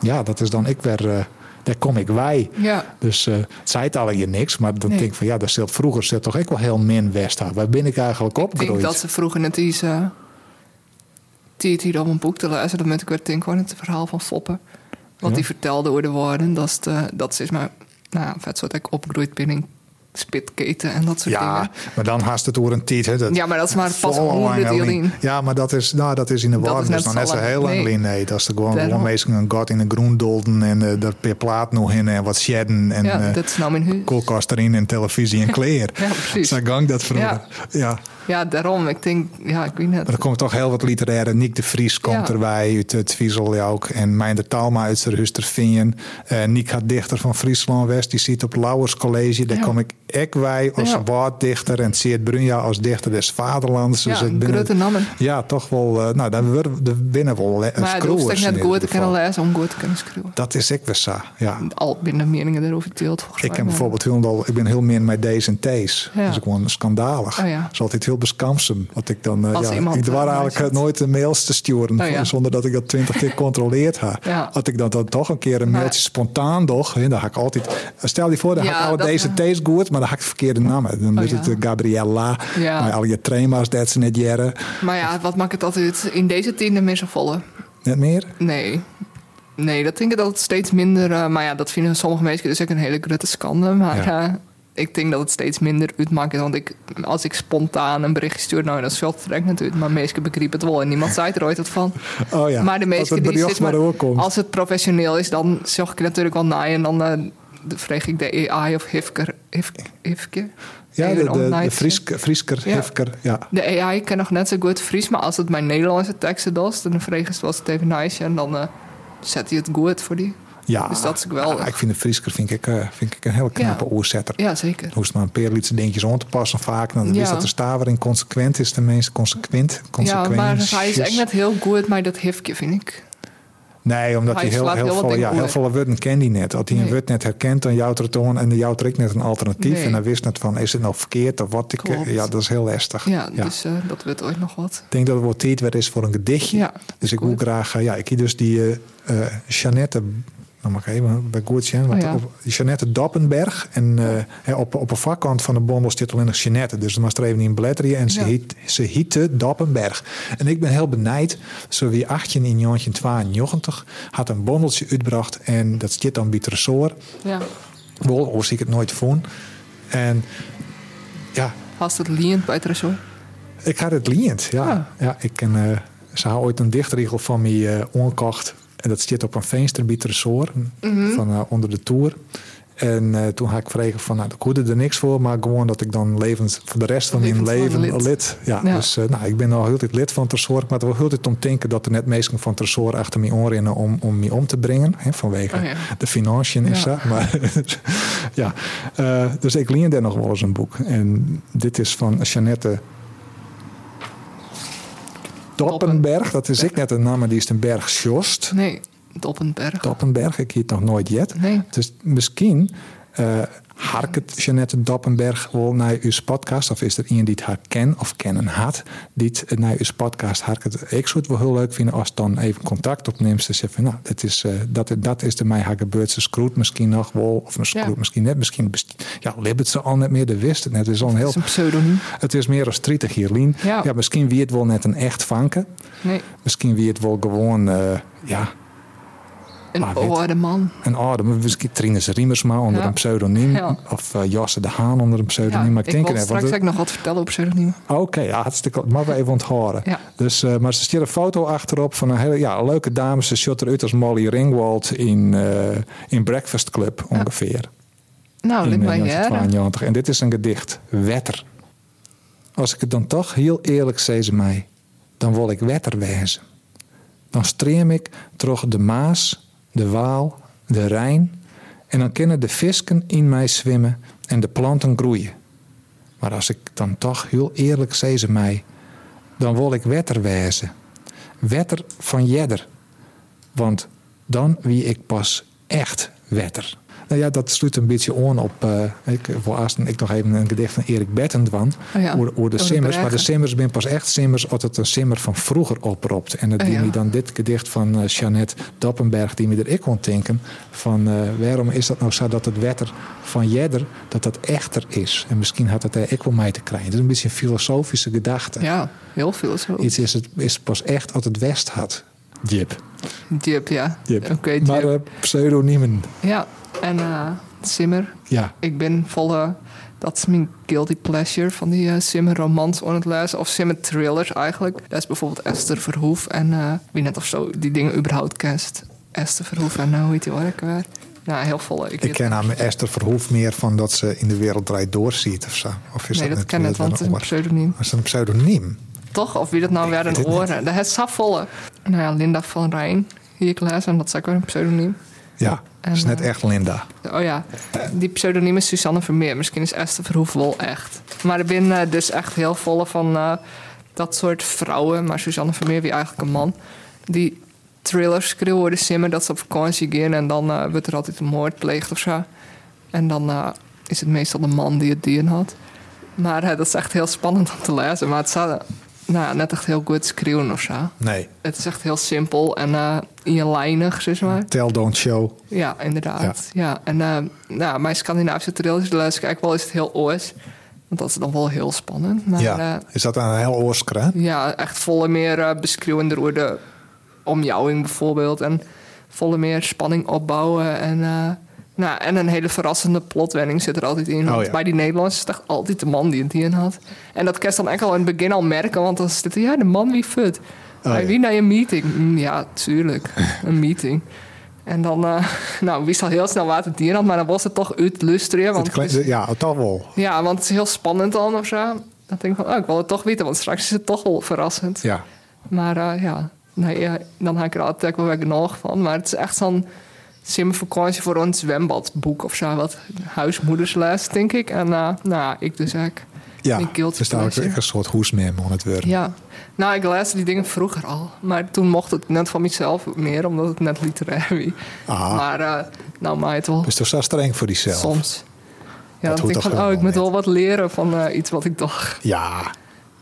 S2: ja, dat is dan ik weer, eh, daar kom ik wij.
S3: Ja.
S2: Dus eh het zei het al je niks, maar dan
S3: Nee.
S2: denk ik van ja, daar zit vroeger zit toch ook wel heel min West aan. Waar ben ik eigenlijk
S3: Ik denk
S2: opgegroeid?
S3: dat ze vroeger net iets... eh, die het hier om een boek te lezen. Dat moet ik weer denken aan het verhaal van Foppen. Wat
S2: Ja.
S3: die vertelde over de woorden. Dat, is de- dat ze is maar... Nou, vet soort dat ik opgegroeid ben in spitketen en dat soort
S2: ja,
S3: dingen.
S2: maar dan haast het door een tijd. hè, dat-
S3: Ja, maar dat is maar pas
S2: Vol lang
S3: honderd
S2: alleen.
S3: in.
S2: Ja, maar dat is, nou, dat is in de
S3: Dat
S2: war.
S3: is
S2: Dat is nog
S3: net zo
S2: net zo
S3: lang.
S2: heel lang
S3: Nee.
S2: alleen. Nee, dat is er gewoon,
S3: Daarom.
S2: gewoon meestal een god in de groen dolden en eh daar per plaat nog in en wat shedden en
S3: Ja,
S2: eh,
S3: dat is nou mijn huis.
S2: koelkast erin en televisie en kleer.
S3: Ja, precies.
S2: Zo gang dat vroeger. Ja.
S3: Ja. Ja, daarom. Ik denk, ja, ik weet
S2: Maar
S3: net.
S2: er komt toch heel wat literaire. Nick de Vries komt
S3: Ja.
S2: erbij, uit het Viezel ja ook. En Mijn de Talma uit Hustervingen. Eh Nick gaat dichter van Friesland West. Die zit op Lauwers College. Daar
S3: Ja.
S2: kom ik ek wij als
S3: Ja.
S2: woorddichter. En Seert Brunja als dichter des vaderlands. Dus
S3: Ja,
S2: ik ben
S3: grote namen.
S2: Ja, toch wel. eh, nou, dan worden de binnen wel le-
S3: Maar het hoeft
S2: screwers
S3: echt
S2: in
S3: net
S2: ieder
S3: goed te kunnen
S2: geval.
S3: lezen om goed te kunnen schreeuwen.
S2: Dat is ik weer zo, ja.
S3: Al binnen meningen erover deelt, volgens
S2: Ik
S3: mij.
S2: heb
S3: maar-
S2: bijvoorbeeld heel al, ik ben heel min met D's en T's.
S3: Ja.
S2: Dat is gewoon schandalig.
S3: Oh ja.
S2: Dat is altijd heel beskamsem. Wat ik dan, eh,
S3: Als
S2: ja,
S3: iemand,
S2: ik
S3: eh,
S2: dwar eigenlijk
S3: zit.
S2: nooit de mails te sturen
S3: Oh ja.
S2: zonder dat ik dat twintig keer controleerd heb.
S3: Ja.
S2: Had ik dat dan toch een keer een
S3: Maar-
S2: mailtje spontaan toch? hè, Dan ga ik altijd. Stel je voor, dan
S3: Ja,
S2: ga ik alle
S3: dat-
S2: D's en T's goed, maar dan hakt het verkeerde namen. Dan
S3: Oh,
S2: is het
S3: ja.
S2: eh, Gabriella,
S3: Ja.
S2: maar al je trema's dat ze net jaren.
S3: Maar ja, wat maakt het altijd in deze tiende meer zo volle?
S2: Net meer?
S3: Nee. Nee, dat denk ik dat het steeds minder... eh, maar ja, dat vinden sommige mensen dus ook een hele grote schande. Maar
S2: Ja.
S3: eh, ik denk dat het steeds minder uitmaakt. Want ik, als ik spontaan een bericht stuur... Nou, dat is wel terecht natuurlijk. Maar mensen begrijpen het wel. En niemand zei er ooit wat van.
S2: Oh ja,
S3: maar de
S2: als
S3: meeste
S2: het
S3: die
S2: bericht
S3: zit maar,
S2: maar doorkomt.
S3: als het professioneel is, dan zag ik natuurlijk wel na en dan eh, vreeg ik de AI of Hifker, Hif, Hifke.
S2: Ja, de,
S3: Even
S2: de, de
S3: online-
S2: Friesker, Friesker
S3: Ja.
S2: Hefker, ja.
S3: De AI kan nog net zo goed Fries, maar als het mijn Nederlandse teksten was, dan vreeg ze was het even nice en dan eh, zet hij het goed voor die.
S2: ja.
S3: Dus dat is geweldig.
S2: Ah, ik vind de Friesker vind ik, eh, vind ik een hele knappe
S3: Ja.
S2: oerzetter.
S3: Ja, zeker.
S2: Hoe is het maar een paar liedse dingetjes om te passen vaak. Dan
S3: Ja.
S2: wist dat de staver in consequent is, de meest consequent.
S3: Ja, maar hij is
S2: consequentjes.
S3: echt net heel goed, maar dat Hifke vind ik.
S2: Nee, omdat
S3: Hij
S2: hij heel,
S3: slaat
S2: heel,
S3: heel wat
S2: veel,
S3: dingen
S2: ja, heel
S3: over.
S2: veel woorden kent hij net. Als hij een
S3: Nee.
S2: woord net herkent, dan jouwt het toon en dan jouwt er ik net een alternatief.
S3: Nee.
S2: En dan wist net van, is het nou verkeerd of wat? Ik,
S3: Klopt.
S2: ja, dat is heel lastig.
S3: Ja, dus eh, dat wordt ooit nog wat.
S2: Ik denk dat het wordt tijd weer is voor een gedichtje.
S3: Ja,
S2: dus ik
S3: goed.
S2: wil graag... eh, ja, ik zie dus die eh eh, Jeannette... Dan mag ik even bij goed zijn. Want
S3: Oh ja.
S2: op, Jeannette Dappenberg. En eh, hè, op, op een vakkant van de bondel zit alleen nog Jeannette. Dus dan was er even in beletteren. En ze,
S3: Ja.
S2: heet, ze heette Dappenberg. En ik ben heel benijd. Zo wie 18 in 1992 had een bondeltje uitgebracht. En dat zit dan bij het resort.
S3: Ja,
S2: Wel, of zie ik het nooit van. En ja,
S3: als het liend bij het resort.
S2: ik had het liend, ja.
S3: Ah.
S2: ja. ik ken, eh, ze had ooit een dichtriegel van mij eh, onkocht. En dat zit op een vensterbiet resort
S3: Mhm.
S2: van eh, onder de tour. En eh, toen had ik vregen van, nou, ik hoorde er niks voor, maar gewoon dat ik dan levend voor de rest van mijn
S3: Levend van
S2: leven
S3: lid.
S2: lid. Ja,
S3: Ja.
S2: dus eh, nou, ik ben al heel de tijd lid van het resort, maar het wil heel de tijd om denken dat er net mensen van het resort achter me aanrennen om, om me om te brengen, hè, vanwege
S3: Oh ja.
S2: de financiën is
S3: Ja.
S2: dat. Maar ja, eh, dus ik leende er nog wel eens een boek. En dit is van Jeannette Doppenberg. Dat is ik net een naam, maar die is een berg Sjost.
S3: Nee, Doppenberg.
S2: Doppenberg, ik heet nog nooit jet.
S3: Nee.
S2: Dus misschien eh hark het Jeannette Doppenberg wel naar uw podcast. Of is er iemand die het haar ken of kennen had, die het naar uw podcast hark het. Ik zou het wel heel leuk vinden als het dan even contact opneemt. En zegt van, nou, dat is, eh, dat, dat is de mij haar gebeurd. Ze scroet misschien nog wel. Of een scroet
S3: Ja.
S2: misschien net. Misschien best- ja, libbert ze al net meer. De wist het net. Het is al een
S3: Dat
S2: heel...
S3: is een pseudoniem.
S2: Het is meer dan 30 hier, Lien.
S3: Ja.
S2: ja, misschien wie het wel net een echt vanken.
S3: Nee,
S2: Misschien wie het wel gewoon, eh, ja,
S3: een
S2: Maar weet-
S3: oude man.
S2: een adem. Misschien Trinus Riemersma onder
S3: Ja.
S2: een pseudoniem.
S3: Ja.
S2: Of eh, Jasse de Haan onder een
S3: Ja,
S2: pseudoniem. maar ik, denk
S3: wil
S2: er net, want
S3: straks
S2: het-
S3: ook nog wat vertellen op pseudoniemen.
S2: Oké, ja, hartstikke. Maar we even onthoren.
S3: Ja.
S2: Dus, eh, maar ze stier een foto achterop van een hele ja, leuke dame. Ze shot eruit als Molly Ringwald in, eh, in Breakfast Club ongeveer.
S3: Nou,
S2: in
S3: lijkt mij jaren.
S2: 1992. En dit is een gedicht. Wetter. Als ik het dan toch heel eerlijk zei ze mij, dan wil ik wetter wezen. Dan streem ik troch de Maas, de Waal, de Rijn. En dan kunnen de visken in mij zwemmen en de planten groeien. Maar als ik dan toch heel eerlijk zei ze mij, dan wil ik wetter wezen. Wetter van jedder. Want dan wie ik pas echt wetter. Nou ja, dat sluit een beetje aan op. eh, ik wil haast ik nog even een gedicht van Erik Bettendwan.
S3: Oh ja,
S2: over, over de
S3: over de
S2: Simmers. Maar de
S3: bergen.
S2: Simmers ben pas echt Simmers als het een Simmer van vroeger opropt. En dat
S3: Oh
S2: die
S3: ja.
S2: me dan dit gedicht van eh Jeannette Dappenberg, die me er ik kon denken. Van eh, waarom is dat nou zo dat het wetter van jedder, dat dat echter is. En misschien had het daar ik wel mee te krijgen. Dat is een beetje een filosofische gedachte.
S3: Ja, heel veel zo.
S2: Iets is, het, is pas echt als het West had. Jip.
S3: Jip, ja. Oké, Jip.
S2: maar eh, pseudoniemen.
S3: Ja, en eh, Simmer.
S2: Ja.
S3: Ik ben volle... Dat is mijn guilty pleasure van die eh, Simmer-romans aan het lezen. Of Simmer-thrillers eigenlijk. Dat is bijvoorbeeld Esther Verhoef en... eh, wie net of zo die dingen überhaupt kent. Esther Verhoef en nou hoe heet die werk weer? Nou, heel volle.
S2: Ik ken aan Esther Verhoef meer van dat ze in de wereld draait doorziet of zo. Of is
S3: Nee, dat
S2: net
S3: ken ik,
S2: weer
S3: want het
S2: een
S3: is een
S2: oor?
S3: pseudoniem.
S2: Dat is een pseudoniem.
S3: Toch? Of wie dat nou weer
S2: weet
S3: een
S2: het niet.
S3: oren. Dat is volle. Nou ja, Linda van Rijn. Hier ik lees, en dat is ook weer een pseudoniem.
S2: Ja, dat is
S3: En,
S2: net
S3: eh,
S2: echt Linda.
S3: Oh ja, die pseudoniem is Suzanne Vermeer. Misschien is Esther Verhoef wel echt. Maar ik ben eh, dus echt heel vol van eh, dat soort vrouwen. Maar Suzanne Vermeer, wie eigenlijk een man. Die thrillers schreeuwen worden simmen dat ze op vakantie gaan. En dan eh, wordt er altijd een moord pleegd of zo. En dan eh, is het meestal de man die het dier had. Maar eh, dat is echt heel spannend om te lezen. Maar het staat nou, net echt heel goed schreeuwen of zo.
S2: Nee.
S3: Het is echt heel simpel en eh eenlijnig, zeg maar.
S2: Tell, don't show.
S3: Ja, inderdaad. Ja. En eh, nou, mijn Scandinavische trailers luister ik eigenlijk wel eens heel oors. Want dat is dan wel heel spannend. Maar eh, ja,
S2: ja. Is dat dan een heel oorskraan?
S3: ja echt volle meer eh beschreeuwende woorden. Omjouwing bijvoorbeeld. En volle meer spanning opbouwen. En, eh, nou, en een hele verrassende plotwending zit er altijd in.
S2: Oh,
S3: Want
S2: ja.
S3: bij die Nederlanders is het echt altijd de man die het in had. En dat kerst dan echt al in het begin al merken. Want dan zit er, ja, de man wie fut. bij
S2: Oh, ja.
S3: wie naar je meeting? "Mm, ja, tuurlijk. een meeting. En dan, eh, nou, wist al heel snel waar het dier had, maar dan was het toch uitlusteren. Want
S2: Het kle-
S3: het is-
S2: ja, toch wel.
S3: ja, want het is heel spannend dan of zo. Dan denk ik van, oh, ik wil het toch weten, want straks is het toch wel verrassend.
S2: Ja.
S3: Maar eh, ja, nee, eh, dan heb ik er altijd wel weer genoeg van. Maar het is echt zo'n simvakantie voor een zwembadboek of zo. Wat huismoeders leest, denk ik. En eh, nou, ik dus ook.
S2: Ja, dus
S3: Een guilty
S2: er staat ook
S3: pleasure.
S2: echt een soort hoesmem aan het worden.
S3: Ja, nou, ik leesde die dingen vroeger al. Maar toen mocht het net van mezelf meer, omdat het net literair was.
S2: Ah.
S3: Maar eh, nou, mij het wel.
S2: Dus toch zo streng voor diezelf.
S3: Soms. Ja,
S2: Dat
S3: dan
S2: hoeft
S3: denk
S2: toch
S3: ik van, oh, ik
S2: helemaal
S3: moet
S2: niet.
S3: wel wat leren van eh, iets wat ik dacht.
S2: Ja,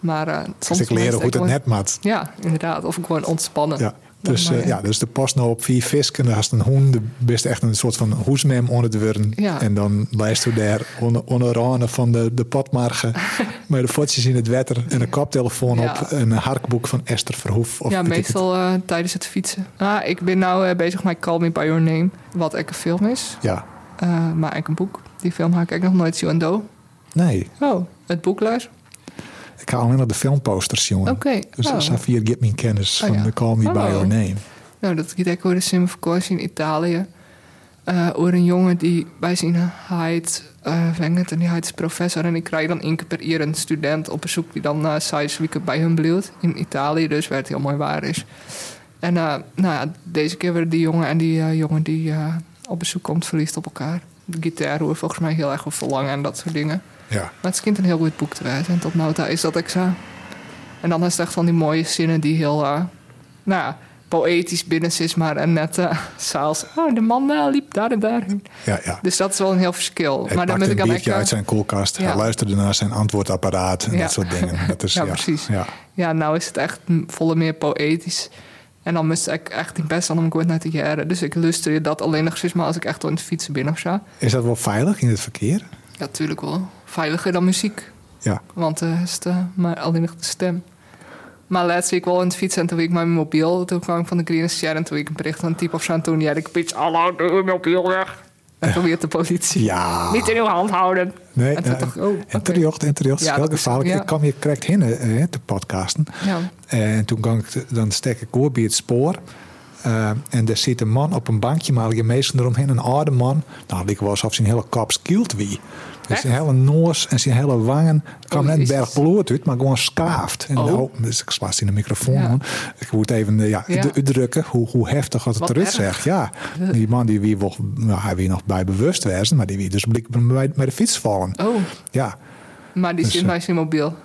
S3: Maar eh, soms
S2: dus ik
S3: is
S2: leren hoe het
S3: gewoon-
S2: net maakt.
S3: Ja, inderdaad. Of gewoon ontspannen.
S2: Ja. Dus,
S3: maar,
S2: eh, ja, dus de pas nou op vier visken, daar is een hoen, de best echt een soort van hoesmem onder het worden.
S3: Ja.
S2: En dan lijst u daar onder- onder ranen van de, de potmargen met de fotjes in het wetter en een koptelefoon
S3: Ja.
S2: op en een harkboek van Esther Verhoef. Of
S3: ja,
S2: weet ik het.
S3: meestal eh, tijdens het fietsen. Ah, ik ben nou eh, bezig met Call Me By Your Name. Wat eigenlijk een film is.
S2: Ja,
S3: Eh, maar eigenlijk een boek. Die film had ik eigenlijk nog nooit zien. en do.
S2: nee,
S3: Oh, het boek luister.
S2: ik ga alleen nog de filmposters, jongen.
S3: Oké,
S2: Dus
S3: oh.
S2: Safir Give Me Kennis
S3: Oh,
S2: van
S3: ja.
S2: de Call Me By
S3: Oh.
S2: Your Name.
S3: Nou, dat ik denk hoor de Sim in Italië. eh over een jongen die bij zijn heid eh wenget. En die heid is professor. En die krijgt dan één keer per jaar een student op bezoek. Die dan na zes weken bij hun blijft. In Italië dus, waar het heel mooi waar is. En eh, nou ja, deze keer weer die jongen en die eh, jongen die eh, op bezoek komt verliefd op elkaar. De gitaar hoor volgens mij heel erg op verlangen en dat soort dingen.
S2: Ja,
S3: Maar het schijnt een heel goed boek te zijn. En tot nota is dat ik zo. En dan is het echt van die mooie zinnen die heel, eh, nou ja, poëtisch binnen is, maar en net eh, zelfs. Oh, de man eh, liep daar en daarheen.
S2: ja, ja.
S3: Dus dat is wel een heel verschil.
S2: Hij
S3: maar dan
S2: pakte
S3: moet
S2: een
S3: ik dan
S2: biertje
S3: echt.
S2: uit zijn koelkast.
S3: Ja.
S2: Hij luisterde naar zijn antwoordapparaat en
S3: Ja.
S2: dat soort dingen. Dat is,
S3: Ja, precies.
S2: Ja.
S3: Ja, nou is het echt m- volle meer poëtisch. En dan moest ik echt die best aan om goed naar te jaren. Dus ik lustreer dat alleen nog steeds maar als ik echt aan het fietsen ben of zo. Ja,
S2: Is dat wel veilig in het verkeer?
S3: natuurlijk wel. Veiliger dan muziek.
S2: Ja.
S3: Want eh is het, eh, maar alleen nog de stem. Maar laatst zie ik wel in het fietsen en toen ik mijn mobiel. Toen kwam ik van de Green Share en toen ik een bericht aan een type of zo. En toen ja, ik pitch, hallo, doe je mobiel weg. En toen weer de politie.
S2: Ja.
S3: Niet in uw hand houden.
S2: Nee,
S3: en toen
S2: nou,
S3: dacht ik, oh,
S2: en
S3: oké.
S2: terjocht, en terjocht.
S3: Ja,
S2: Ja, heel
S3: dat is-
S2: gevaarlijk.
S3: ja.
S2: Ik kwam hier correct hinnen eh, te podcasten.
S3: Ja.
S2: En toen kwam ik, te- dan stek ik door bij het spoor. Eh, en daar zit een man op een bankje, maar je meestal eromheen, een oude man. Nou, ik was alsof zijn hele kop skielt wie. Dus
S3: Echt?
S2: zijn hele noos en zijn hele wangen. Het kwam
S3: Oh,
S2: net een
S3: Jezus.
S2: berg bloed uit, maar gewoon schaafd. En
S3: Oh.
S2: nou, dus ik slaat in de microfoon.
S3: Ja.
S2: aan. Ik moet even eh, ja,
S3: Ja.
S2: de- uitdrukken hoe, hoe heftig dat het
S3: Wat
S2: eruit
S3: erg.
S2: zegt. Ja, die man die wie wel- nou, hij wie nog bij bewust wezen, maar die wie dus blik bij, bij de fiets vallen.
S3: Oh,
S2: Ja,
S3: maar die
S2: Dus,
S3: zit
S2: eh,
S3: bij zijn mobiel.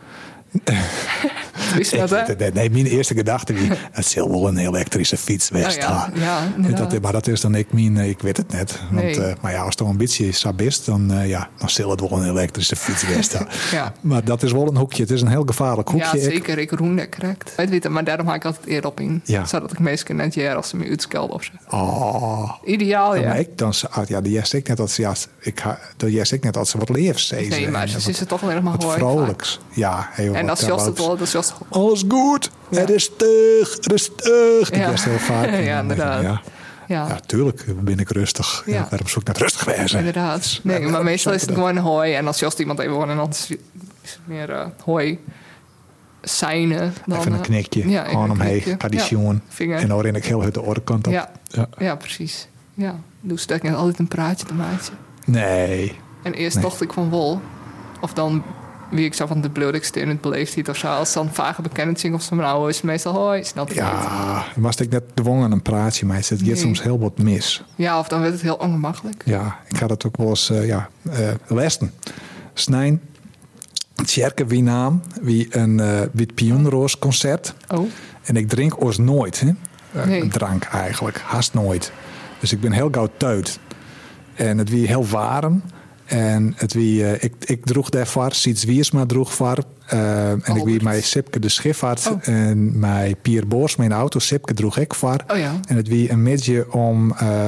S3: Wist je dat, hè?
S2: Ik- nee, nee, mijn eerste gedachte wie, het zal wel een elektrische fiets
S3: Nou
S2: wezen.
S3: ja,
S2: hè.
S3: ja,
S2: dat,
S3: inderdaad.
S2: maar dat is dan ik mijn, eh, ik weet het net. Want,
S3: Nee.
S2: eh, maar ja, als er een beetje sabist, dan, eh, ja, dan zal het wel een elektrische fiets wezen. hè.
S3: Ja.
S2: Maar dat is wel een hoekje. Het is een heel gevaarlijk hoekje.
S3: Ja,
S2: Ik-
S3: zeker. Ik roen dat correct. Ik weet het, maar daarom haak ik altijd eerder op in.
S2: Ja.
S3: Zodat ik meestal net jaren als ze me uitskelden of zo.
S2: Oh.
S3: Ideaal, ja.
S2: Maar ik dan, ze- ah, ja, die jij zegt net dat ze, ja, ik, ha- die jij zegt net dat ze wat leeft. Ze,
S3: nee, maar ze is het toch alleen nog maar
S2: wat
S3: hoor.
S2: vrolijks. Ja, heel
S3: En
S2: wat-
S3: dat is juist
S2: wat-
S3: het wel, dat is juist
S2: Alles goed.
S3: Ja.
S2: Het is teug. Het is teug. Die
S3: Ja.
S2: best heel vaak.
S3: Ja, inderdaad.
S2: Ja.
S3: Ja.
S2: Ja, tuurlijk ben ik rustig. Ja.
S3: Ja.
S2: daarom zoek ik naar rustig wezen.
S3: Inderdaad. Nee, maar meestal is het gewoon hooi. En als Jost iemand even hoort, en dan is het meer eh hooi. Seinen. Dan,
S2: Even een
S3: eh,
S2: knikje.
S3: ja, even
S2: gewoon
S3: een
S2: omheen.
S3: knikje.
S2: Tradition.
S3: Ja, vinger.
S2: en dan ren ik heel uit de orenkant op.
S3: Ja. Ja, precies. Ja, doe sterk en altijd een praatje te maatje.
S2: Nee.
S3: En eerst
S2: Nee.
S3: dacht ik van wol. Of dan wie ik zo van de bloedigste in het beleefdheid of zo. Als dan vage bekending of zo, maar nou is het meestal hoi. Snel te weten.
S2: Ja, was ik net dwongen aan een praatje, maar het gaat
S3: Nee.
S2: soms heel wat mis.
S3: ja, of dan werd het heel ongemakkelijk.
S2: Ja, ik ga dat ook wel eens eh, ja, eh, lesten. Snijn, Tjerke, wie naam, wie een eh wie het Pionroos concert.
S3: Oh,
S2: En ik drink ons nooit, hè? Eh,
S3: Nee.
S2: drank eigenlijk, haast nooit. Dus ik ben heel gauw teut. En het wie heel warm. En het wie, eh, ik, ik droeg daarvoor, Siets Wiersma droeg voor. eh,
S3: Oh,
S2: en ik wie mij Sipke de Schifvaart en mij Pier Boers, mijn auto, Sipke droeg ik voor.
S3: Oh ja.
S2: En het wie een midje om, eh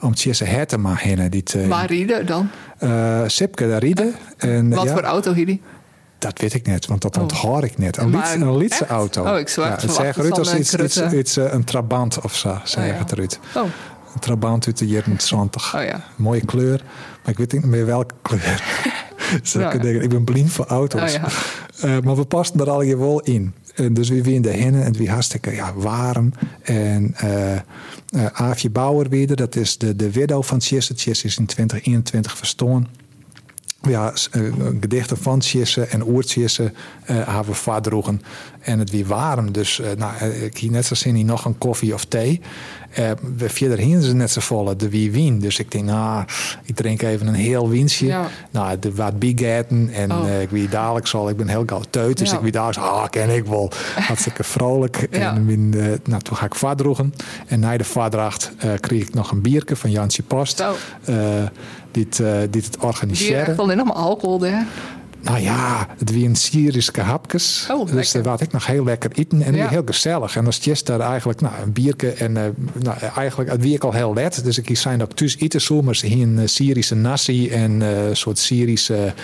S2: om Tjesse Hertema heen. Die twee.
S3: Waar rieden dan?
S2: Eh, Sipke daar rieden. En,
S3: Wat
S2: ja,
S3: voor auto hield die?
S2: Dat weet ik net, want dat
S3: Oh.
S2: onthoor ik net. Een,
S3: Maar
S2: Lietse- een Lietse
S3: echt?
S2: auto.
S3: Oh, ik zou echt
S2: het
S3: verwachten
S2: zag eruit
S3: van
S2: als
S3: een
S2: iets, iets,
S3: krutte.
S2: iets, eh, een trabant of zo, zei
S3: ja.
S2: het eruit.
S3: Oh,
S2: Een trabant uit de jaren 20.
S3: oh ja.
S2: Mooie kleur, maar ik weet niet meer welke kleur. Zulke
S3: Nou ja.
S2: dingen. Ik ben blind voor
S3: Oh
S2: auto's.
S3: ja.
S2: Eh, maar we pasten er al je wel in. En dus wie wie in de hennen en wie hartstikke ja, warm. En eh eh, Aafje Bauer weer, dat is de, de widow van Tjesse. Tjesse is in 2021 verstoorn. Ja, s- eh, gedichten van Tjesse en oertjesse eh hebben we vaardroegen. En het wie warm, dus eh, nou, eh, ik hier net zo zin in nog een koffie of thee. Eh, we verder hingen ze net zo volle, de wie wien. Dus ik denk, nou, ik drink even een heel wientje.
S3: Ja.
S2: Nou, de wat bigetten en
S3: Oh.
S2: eh, ik wie dadelijk zal, ik ben heel gauw teut, dus
S3: Ja.
S2: ik wie dadelijk zal, ah, ken ik wel. Hartstikke vrolijk.
S3: Ja.
S2: En min, eh, nou, toen ga ik vaardroegen. En na de vaardracht eh, kreeg ik nog een bierke van Jansje Post.
S3: Zo.
S2: eh, die, het, eh, die het
S3: Hier
S2: organiseren.
S3: echt alleen nog maar alcohol daar.
S2: Nou ja, het wie een Syrische hapjes.
S3: Oh,
S2: dus
S3: lekker.
S2: daar had ik nog heel lekker eten en
S3: Ja.
S2: heel gezellig. En als Jess daar eigenlijk nou, een bierke en eh, nou, eigenlijk, het wie ik al heel let. Dus ik kies zijn ook thuis eten zo, maar ze hingen eh, Syrische nasi en eh, een soort Syrische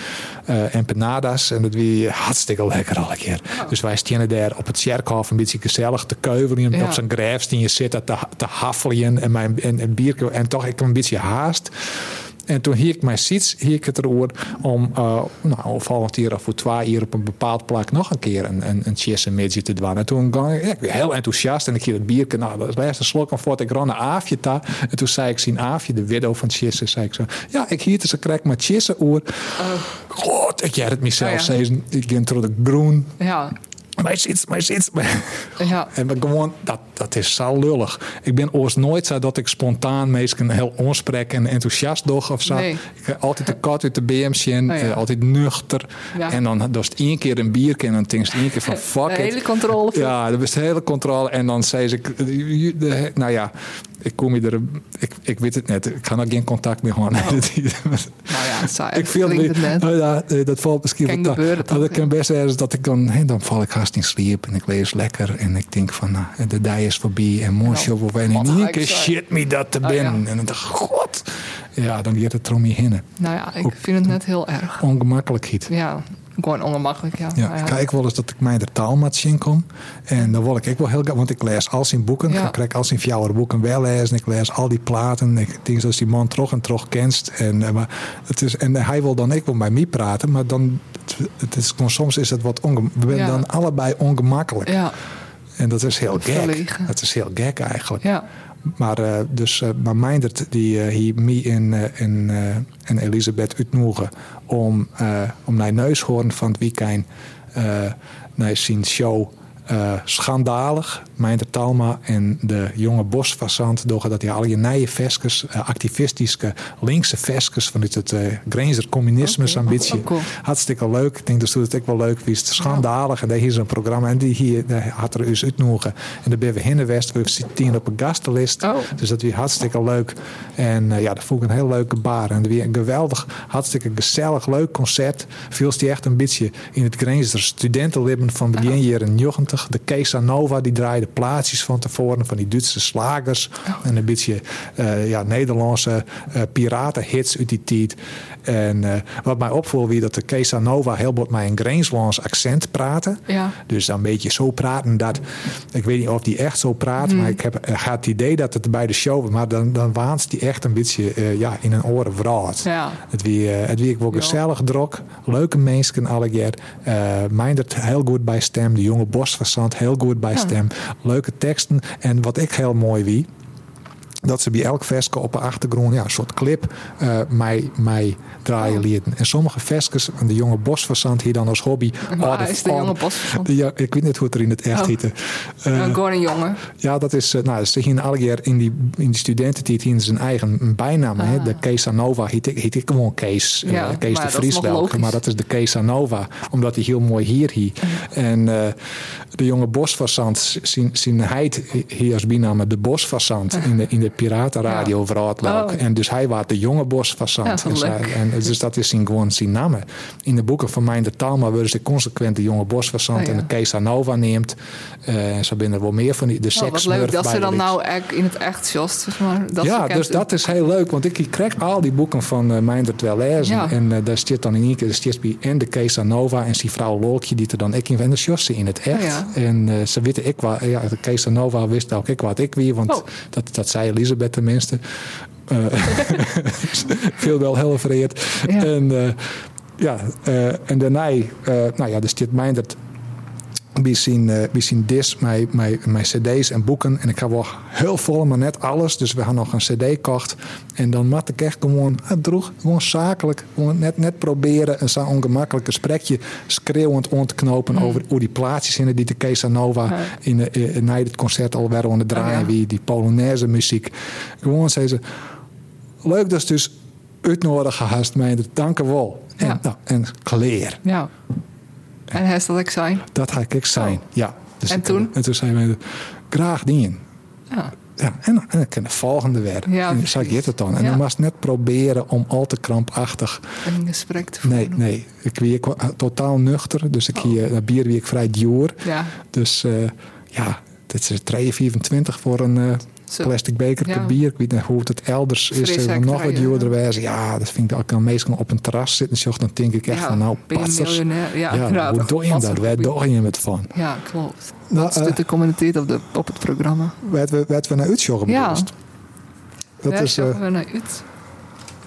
S2: eh, empanadas. En dat wie hartstikke lekker al een keer.
S3: Oh.
S2: Dus wij stonden daar op het Sjerkhof een beetje gezellig te keuvelen.
S3: Ja.
S2: Op zijn graf je zit daar te, te haffelen en, mijn, en, en bierke. En toch, ik heb een beetje haast. En toen hier ik mijn siets, hier ik het erover om eh nou, volgend jaar of voor twee hier op een bepaald plek nog een keer een, een, een chisse midje te doen. En toen ging ik, ja, ik ben heel enthousiast en ik hier het bierke, nou, dat laatste slok en voort, ik ran naar Aafje ta. En toen zei ik zien Aafje, de widow van chisse, zei ik zo, ja, ik hier ze krijg mijn chisse oer. God, ik had het mezelf
S3: Oh ja.
S2: zeggen, ik ging door de groen,
S3: Ja,
S2: mijn siets, mijn siets, mijn-
S3: ja.
S2: en we gewoon, dat, dat is zo lullig. Ik ben ooit nooit zo dat ik spontaan meestal heel onsprek en enthousiast doch of zo.
S3: Nee.
S2: Ik heb altijd de kat uit de BM zien,
S3: Oh ja.
S2: eh, altijd nuchter.
S3: Ja.
S2: En dan doe je het één keer een bier en dan denk je één keer van fuck
S3: De
S2: it.
S3: hele controle.
S2: Ja, dat was de hele controle. En dan zei ze, ik, de- de- nou ja, ik kom je er, ik, ik weet het net. Ik kan ook geen contact meer gewoon.
S3: Oh. Nou ja, saai.
S2: Ik viel
S3: Klinkt
S2: niet.
S3: het net.
S2: Nou ja, eh, dat valt misschien
S3: Kan
S2: wel te-
S3: gebeuren, toch?
S2: Maar dat kan best ergens dat ik dan, hè, dan val ik haast in slaap en ik lees lekker en ik denk van, nou, de dij is voorbij en mooi
S3: Nou,
S2: show voorbij. En
S3: wat
S2: in
S3: ga
S2: één
S3: ik
S2: keer
S3: zeggen?
S2: shit me dat te
S3: Ah,
S2: binnen.
S3: ja.
S2: En dan dacht ik, god. Ja, dan gaat het er om je heen.
S3: Nou ja, ik vind het net heel erg.
S2: Ongemakkelijk iets.
S3: Ja, gewoon ongemakkelijk, ja.
S2: Ja,
S3: Nou ja.
S2: ik kijk wel eens dat ik mij de taalmatch in kom. En dan wil ik ook wel heel graag, want ik lees al zijn boeken.
S3: Ja.
S2: Ik krijg al zijn fjouwer boeken wel lezen. Ik lees al die platen. Ik denk dat die man toch en toch kent. En, eh, maar het is, en hij wil dan ik wel bij mij praten. Maar dan, het, het is, gewoon soms is het wat ongemakkelijk. We zijn
S3: Ja.
S2: dan allebei ongemakkelijk.
S3: Ja,
S2: En dat is heel gek.
S3: Verlegen.
S2: Dat is heel gek eigenlijk.
S3: ja.
S2: Maar, eh, dus, eh, maar Meindert, die eh, hier mij en, eh, en, eh, en Elisabeth uitnoegen om, eh, om naar Neushoorn van het weekend eh, naar zijn show eh, Schandalig. Meindert Talma en de jonge bosfasant dogen dat hij al je nije veskes, eh, activistische linkse veskes vanuit het eh Grenzer communisme
S3: Oké.
S2: ambitie.
S3: Oh, cool.
S2: Hartstikke leuk. Ik denk dus dat ze het ook wel leuk wist. Schandalig. En daar hier zo'n programma. En die hier daar had er dus uitnodigen. En daar ben we heen geweest. We zitten op een gastenlist.
S3: Oh.
S2: Dus dat was hartstikke leuk. En eh, ja, dat vond ik een heel leuke bar. En weer een geweldig, hartstikke gezellig, leuk concert. Viel die echt een beetje in het Grenzer studentenlibben van begin jaren 90. De Casanova, die draaide plaatjes van tevoren van die Duitse slagers. En een beetje eh, ja, Nederlandse eh, piratenhits uit die tijd. En eh, wat mij opviel, wie dat de Casanova heel bot mij een Grenslands accent praten.
S3: Ja.
S2: Dus dan een beetje zo praten dat. Ik weet niet of die echt zo praat, maar ik heb eh, gaat het idee dat het bij de show. Maar dan, dan waant die echt een beetje eh, ja, in een oren wraad.
S3: Ja.
S2: Het wie, eh, het wie ik wel
S3: Ja.
S2: gezellig drok. Leuke mensen alle keer. Eh Meindert heel goed bij stem. De jonge bosverzand heel goed bij stem. Leuke teksten. En wat ik heel mooi wie dat ze bij elk veske op de achtergrond ja, een soort clip eh, mij, mij
S3: Oh.
S2: draaien lieten. En sommige veskes, en de jonge bosverzand hier dan als hobby.
S3: Waar
S2: oh, de-
S3: is de
S2: oh,
S3: jonge bosverzand?
S2: de- Ja, ik weet niet hoe het er in het echt
S3: Oh.
S2: heette. Eh,
S3: Uh, Gordon Jongen.
S2: ja, dat is. eh, Nou, ze gingen alle keer in die, in die studententijd in zijn eigen bijnaam. Hè? De Casanova heet ik, heet ik gewoon Kees. eh,
S3: Ah. Ja,
S2: Kees
S3: maar
S2: de
S3: dat is nog
S2: Vries wel.
S3: logisch.
S2: Maar dat is de Casanova, omdat hij heel mooi hier hie. En eh, de jonge bosfasant, zijn, zijn heid hier als bijnaam de bosfasant in de, in de piratenradio verhaald
S3: Oh.
S2: En dus hij was de jonge bosfasant.
S3: Ja,
S2: en, zij-
S3: leuk.
S2: en dus dat is zijn, gewoon zijn naam. In de boeken van Mijn de Talma worden ze consequent de jonge bosfasant
S3: Oh, ja.
S2: en de Casanova neemt. Eh, en zo binnen er wel meer van die, dus de
S3: Oh, wat leuk
S2: seksmurf
S3: dat
S2: bij
S3: ze
S2: de
S3: dan
S2: Liks.
S3: nou echt in het echt zost. Zeg maar, dat
S2: ja,
S3: ze
S2: dus
S3: kent-
S2: dat is heel leuk, want ik krijg al die boeken van eh Meindert wel lezen.
S3: Ja.
S2: En eh, daar zit dan in ieder keer zit bij en de Casanova en die vrouw Lolkje die er dan ik in en de Josse in het echt.
S3: Oh, Ja,
S2: En eh, ze weten ik wat, ja, de Casanova wist ook ik wat ik wie, want
S3: Oh.
S2: dat, dat zei Elisabeth tenminste. Eh, veel wel heel vereerd.
S3: Ja.
S2: En, eh, ja, eh, en daarna, eh, nou ja, dus dit Meindert bij zijn, eh, bij zijn disc, mijn, mijn, mijn cd's en boeken. En ik ga wel heel vol, maar net alles. Dus we gaan nog een cd kocht. En dan mat ik echt gewoon, het droeg, gewoon zakelijk. Gewoon net, net proberen een zo'n ongemakkelijk gesprekje schreeuwend ontknopen over hoe die plaatjes in die de Casanova
S3: Mm. Ja.
S2: in, de- eh, na het concert al werden aan het draaien.
S3: Oh ja.
S2: Wie die Polonaise muziek. Gewoon zei ze, leuk dat ze dus uitnodigen haast mij. Dank je wel. En,
S3: Ja.
S2: nou, en kleer.
S3: Ja. En hij is dat ik zijn.
S2: Dat ga ik zijn.
S3: Oh.
S2: Ja. Dus
S3: En
S2: ik-
S3: toen?
S2: En toen zijn we graag dingen.
S3: Ja.
S2: Ja, en, dan- en dan kan de volgende weer.
S3: Ja,
S2: en dan
S3: precies.
S2: zag je het dan. En
S3: Ja.
S2: dan was het net proberen om al te krampachtig.
S3: En een gesprek te voeren.
S2: Nee, nee. Ik, wie- ik was totaal nuchter. Dus ik hier, dat bier wie ik vrij duur.
S3: Ja.
S2: Dus eh, ja, dit is 3,24 voor een eh,
S3: Zo.
S2: plastic beker
S3: Ja.
S2: bier. Ik weet niet hoe het elders is.
S3: Fris
S2: eh,
S3: hectare,
S2: nog wat
S3: ja.
S2: duurder wijzen. Ja, dat vind ik ook dan meestal op een terras zitten. zocht, Dan denk ik echt
S3: Ja,
S2: van nou,
S3: ben je
S2: patsers.
S3: miljonair? Ja, inderdaad.
S2: hoe doe je dat? Waar
S3: Patserhobby.
S2: doe je het van?
S3: Ja, klopt.
S2: Nou,
S3: Dat
S2: eh,
S3: zit de commentator op, de, op het programma.
S2: werd we, werd we naar Utsjoggen
S3: Ja.
S2: bedoeld. Dat
S3: Daar
S2: is, eh,
S3: zoeken we naar uit.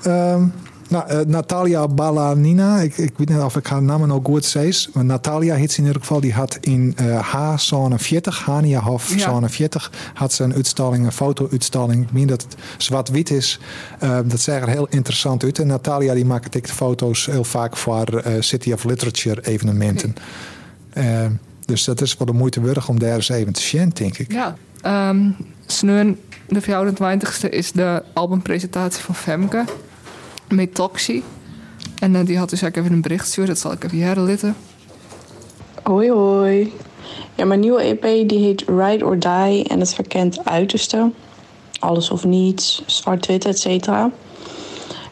S2: ehm, nou, eh, Natalia Balanina, ik, ik weet niet of ik haar naam nou goed zees. Maar Natalia heet ze in ieder geval, die had in eh H47, Haniahof
S3: Ja.
S2: 47, had ze een uitstalling, een foto-uitstalling. Ik meen dat het zwart-wit is. Eh, dat zag er heel interessant uit. En Natalia die maakt ik de foto's heel vaak voor eh, City of Literature evenementen. Eh, dus dat is wel de moeite waard om daar eens even te zien, denk ik.
S3: Ja. Ehm Sneun, de 24 e is de albumpresentatie van Femke. Met Toxie. En eh, die had dus ook even een bericht gestuurd. Dat zal ik even herlitten.
S5: Hoi hoi. Ja, mijn nieuwe EP die heet Ride or Die en het verkent uiterste. Alles of niets, zwart-wit, et cetera.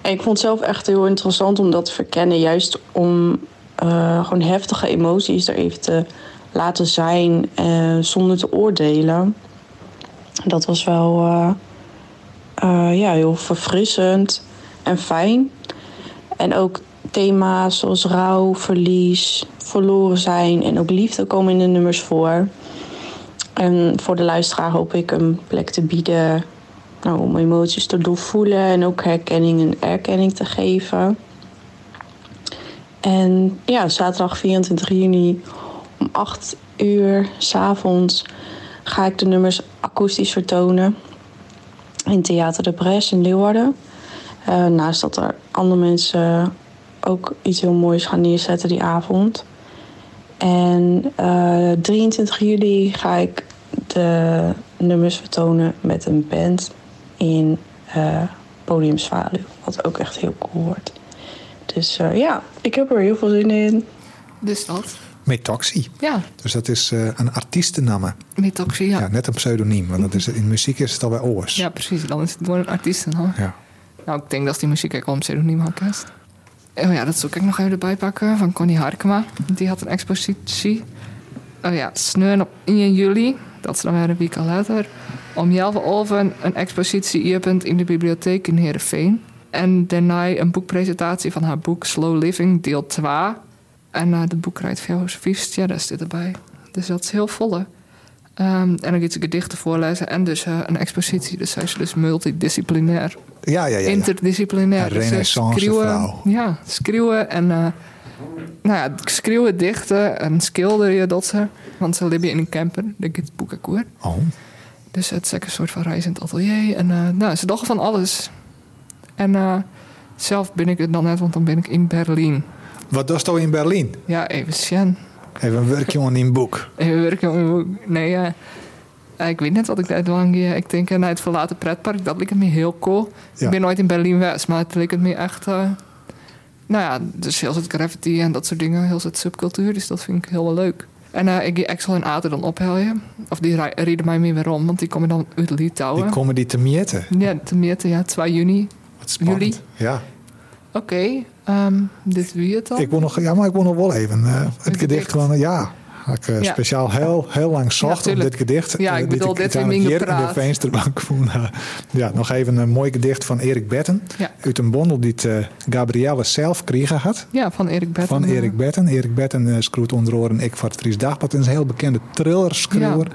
S5: En ik vond het zelf echt heel interessant om dat te verkennen. Juist om eh, gewoon heftige emoties er even te laten zijn eh, zonder te oordelen. Dat was wel eh, eh, ja, heel verfrissend en fijn. En ook thema's zoals rouw, verlies, verloren zijn en ook liefde komen in de nummers voor. En voor de luisteraar hoop ik een plek te bieden nou, om emoties te doorvoelen en ook herkenning en erkenning te geven. En ja, zaterdag 24 juni om 8 uur s'avonds ga ik de nummers akoestisch vertonen in Theater de Bres in Leeuwarden. Eh, naast dat er andere mensen ook iets heel moois gaan neerzetten die avond. En eh, 23 juli ga ik de nummers vertonen met een band in eh Podium Zwaluw. Wat ook echt heel cool wordt. Dus eh, ja, ik heb er heel veel zin in.
S3: Dus dat.
S2: Metoxie.
S3: Ja,
S2: Dus dat is eh, een artiestennaam.
S3: met Toxie,
S2: Ja.
S3: ja.
S2: net een pseudoniem. Want dat is, in muziek is het al bij oors.
S3: Ja, precies. Dan is het gewoon een artiesten, hoor.
S2: Ja.
S3: Nou, ik denk dat die muziek ook wel een pseudoniem had kerst. Oh ja, dat zal ik nog even erbij pakken van Connie Harkema. Die had een expositie. Oh ja, Sneuren op 1 juli. Dat is dan weer een week al later. Om 11 over een expositie hierpunt in de bibliotheek in Heerenveen. En daarna een boekpresentatie van haar boek Slow Living, deel 2. En eh, de boekrijd Verhoos Viefst, ja, daar zit erbij. Dus dat is heel volle. Ehm, en dan iets gedichten voorlezen en dus eh, een expositie. Dus zij is dus multidisciplinair
S2: Ja, ja, ja. ja.
S3: interdisciplinair.
S2: Een
S3: Dus, eh,
S2: renaissance
S3: schreeuwen-
S2: vrouw.
S3: Ja, schreeuwen en... eh, nou ja, schreeuwen, dichten en schilderen je dat ze. Want ze leven in een camper, de gidsboekenkoer.
S2: Oh,
S3: Dus het is ook een soort van reizend atelier. En eh, nou, ze dachten van alles. En eh, zelf ben ik het dan net, want dan ben ik in Berlijn.
S2: Wat doe je in Berlijn?
S3: Ja, even Sjen.
S2: Even een werkjongen in boek.
S3: Even werken. Nee, ja. Eh, ik weet net wat ik daar lang eh, Ik denk eh, naar het verlaten pretpark. Dat leek het me heel cool.
S2: Ja.
S3: Ik ben nooit in Berlijn West, maar het leek het me echt. eh, nou ja, dus heel het graffiti en dat soort dingen, heel het subcultuur. Dus dat vind ik heel wel leuk. En eh, ik die Axel en Aten dan ophelden. Of die rij- rieden mij meer weer om, want die komen dan uit Litouwen.
S2: Die komen die te meten.
S3: Ja, te meten, ja, 2 juni.
S2: Wat spannend.
S3: Jullie?
S2: Ja.
S3: Oké, ehm, dit wie het dan?
S2: Ik wil nog, ja, maar ik wil nog wel even eh, het
S3: gedicht.
S2: gedicht van, ja. Had ik eh,
S3: Ja.
S2: speciaal heel, heel lang zocht op
S3: tuurlijk.
S2: dit gedicht.
S3: Ja, ik
S2: Eh,
S3: bedoel, dit
S2: uiteindelijk
S3: in mijn
S2: hier in de
S3: gepraat.
S2: vensterbank van, eh, ja, nog even een mooi gedicht van Erik Betten.
S3: Ja.
S2: Uit een bondel die het, eh, Gabrielle zelf kregen had.
S3: Ja, van Erik Betten.
S2: Van
S3: eh,
S2: Erik Betten. Erik Betten eh, schroeit onder oren Ik voor het Fries Dagblad. Een heel bekende thrillerschreeuwer.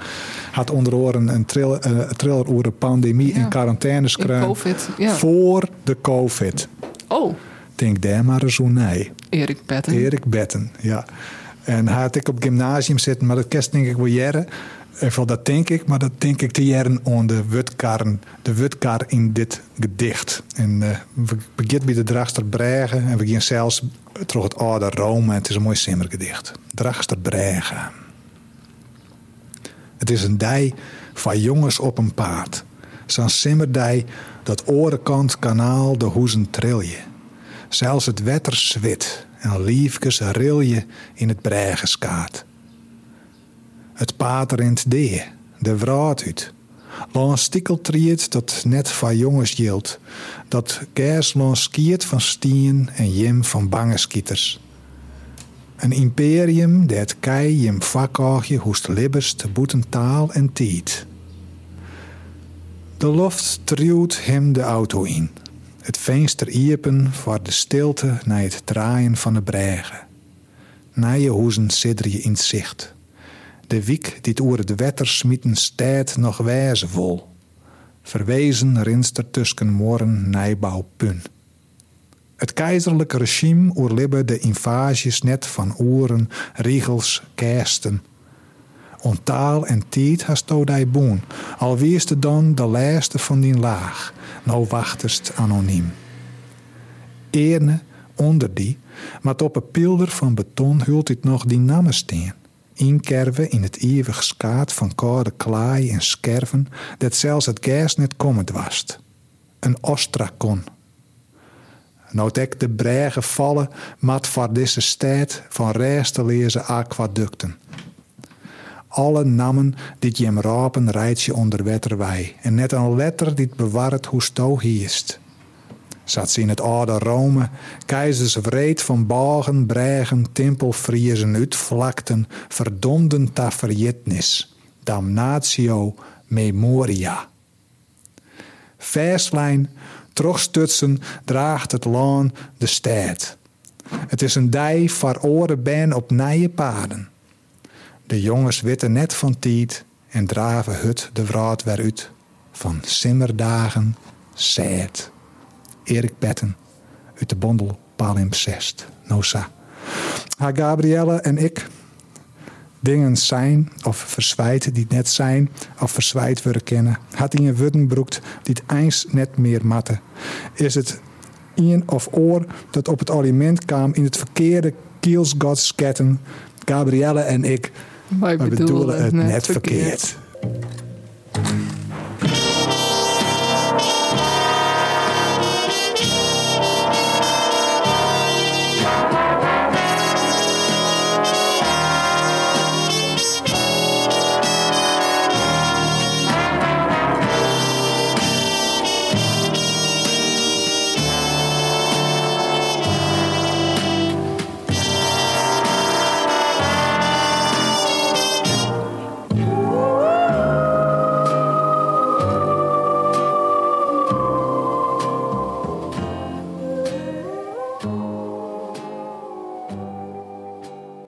S2: Had onder oren een thriller, eh, thriller over de pandemie
S3: Ja.
S2: en quarantaine
S3: in
S2: schreeuwen.
S3: COVID. Ja.
S2: Voor de COVID.
S3: Oh,
S2: Denk daar maar eens hoe nee.
S3: Erik Betten.
S2: Erik Betten, ja. En hij had ik op gymnasium zitten, maar dat kerst denk ik wel jaren. En van dat denk ik, maar dat denk ik te jaren aan de wutkarn, de wutkar in dit gedicht. En eh, we beginnen bij de Draagster Bregen en we gaan zelfs terug het oude Rome. Het is een mooi simmergedicht. Draagster Bregen. Het is een dij van jongens op een paard. Zo'n simmerdij dat orenkant kanaal de hoezen trilje. Zelfs het wetter zwit en liefkes rilje in het bregeskaat. Het paard rent dee, de wraad uit. Langs stiekeltriet dat net van jongens jilt. Dat gers langs skiert van stien en jim van bangeskieters. Een imperium dat kei jim vakkaagje hoest libbers te boeten taal en tiet. De loft triuwt hem de auto in. Het venster iepen voor de stilte na het draaien van de bregen. Nije hoezen sidder je in het zicht. De wiek die oer het wetter smieten stijt nog wijze vol. Verwezen rinster tussen morren nijbouwpun. Het keizerlijke regime oerlibbe de invages net van oeren, riegels, kersten. On taal en tijd hast o dij boen, al wist dan de laatste van die laag, nou wachtest anoniem. Eerne onder die, maar op een pilder van beton hult dit nog die namen steen. Inkerven in het eeuwig skaat van koude klaai en skerven, dat zelfs het gers net komend was. Een ostrakon. Nou dek de bregen vallen, mat voor deze stad van resteleze aquaducten. Alle nammen die het jem rapen rijdt je onder wetterwij. En net een letter die het bewaart hoe sto hiest. Zat ze in het oude Rome, keizers wreed van bogen, bregen, timpelvriezen, uitvlakten, verdomden ta verjetnis. Damnatio memoria. Verslijn, trogstutsen, draagt het laan de stad. Het is een dij voor oren ben op nije paden. De jongens witten net van tiet en draven hut de wraad weer uit. Van simmerdagen zet. Erik Petten, uit de bondel Palimpsest, Nosa. Haar Gabrielle en ik dingen zijn of verzwijt die het net zijn of verzwijt worden kennen. Had hij een wuddenbroekt die het eens net meer matte. Is het een of oor dat op het aliment kwam in het verkeerde kielsgodsketten. Gabrielle en ik,
S3: Wij
S2: we bedoelen het net verkeerd.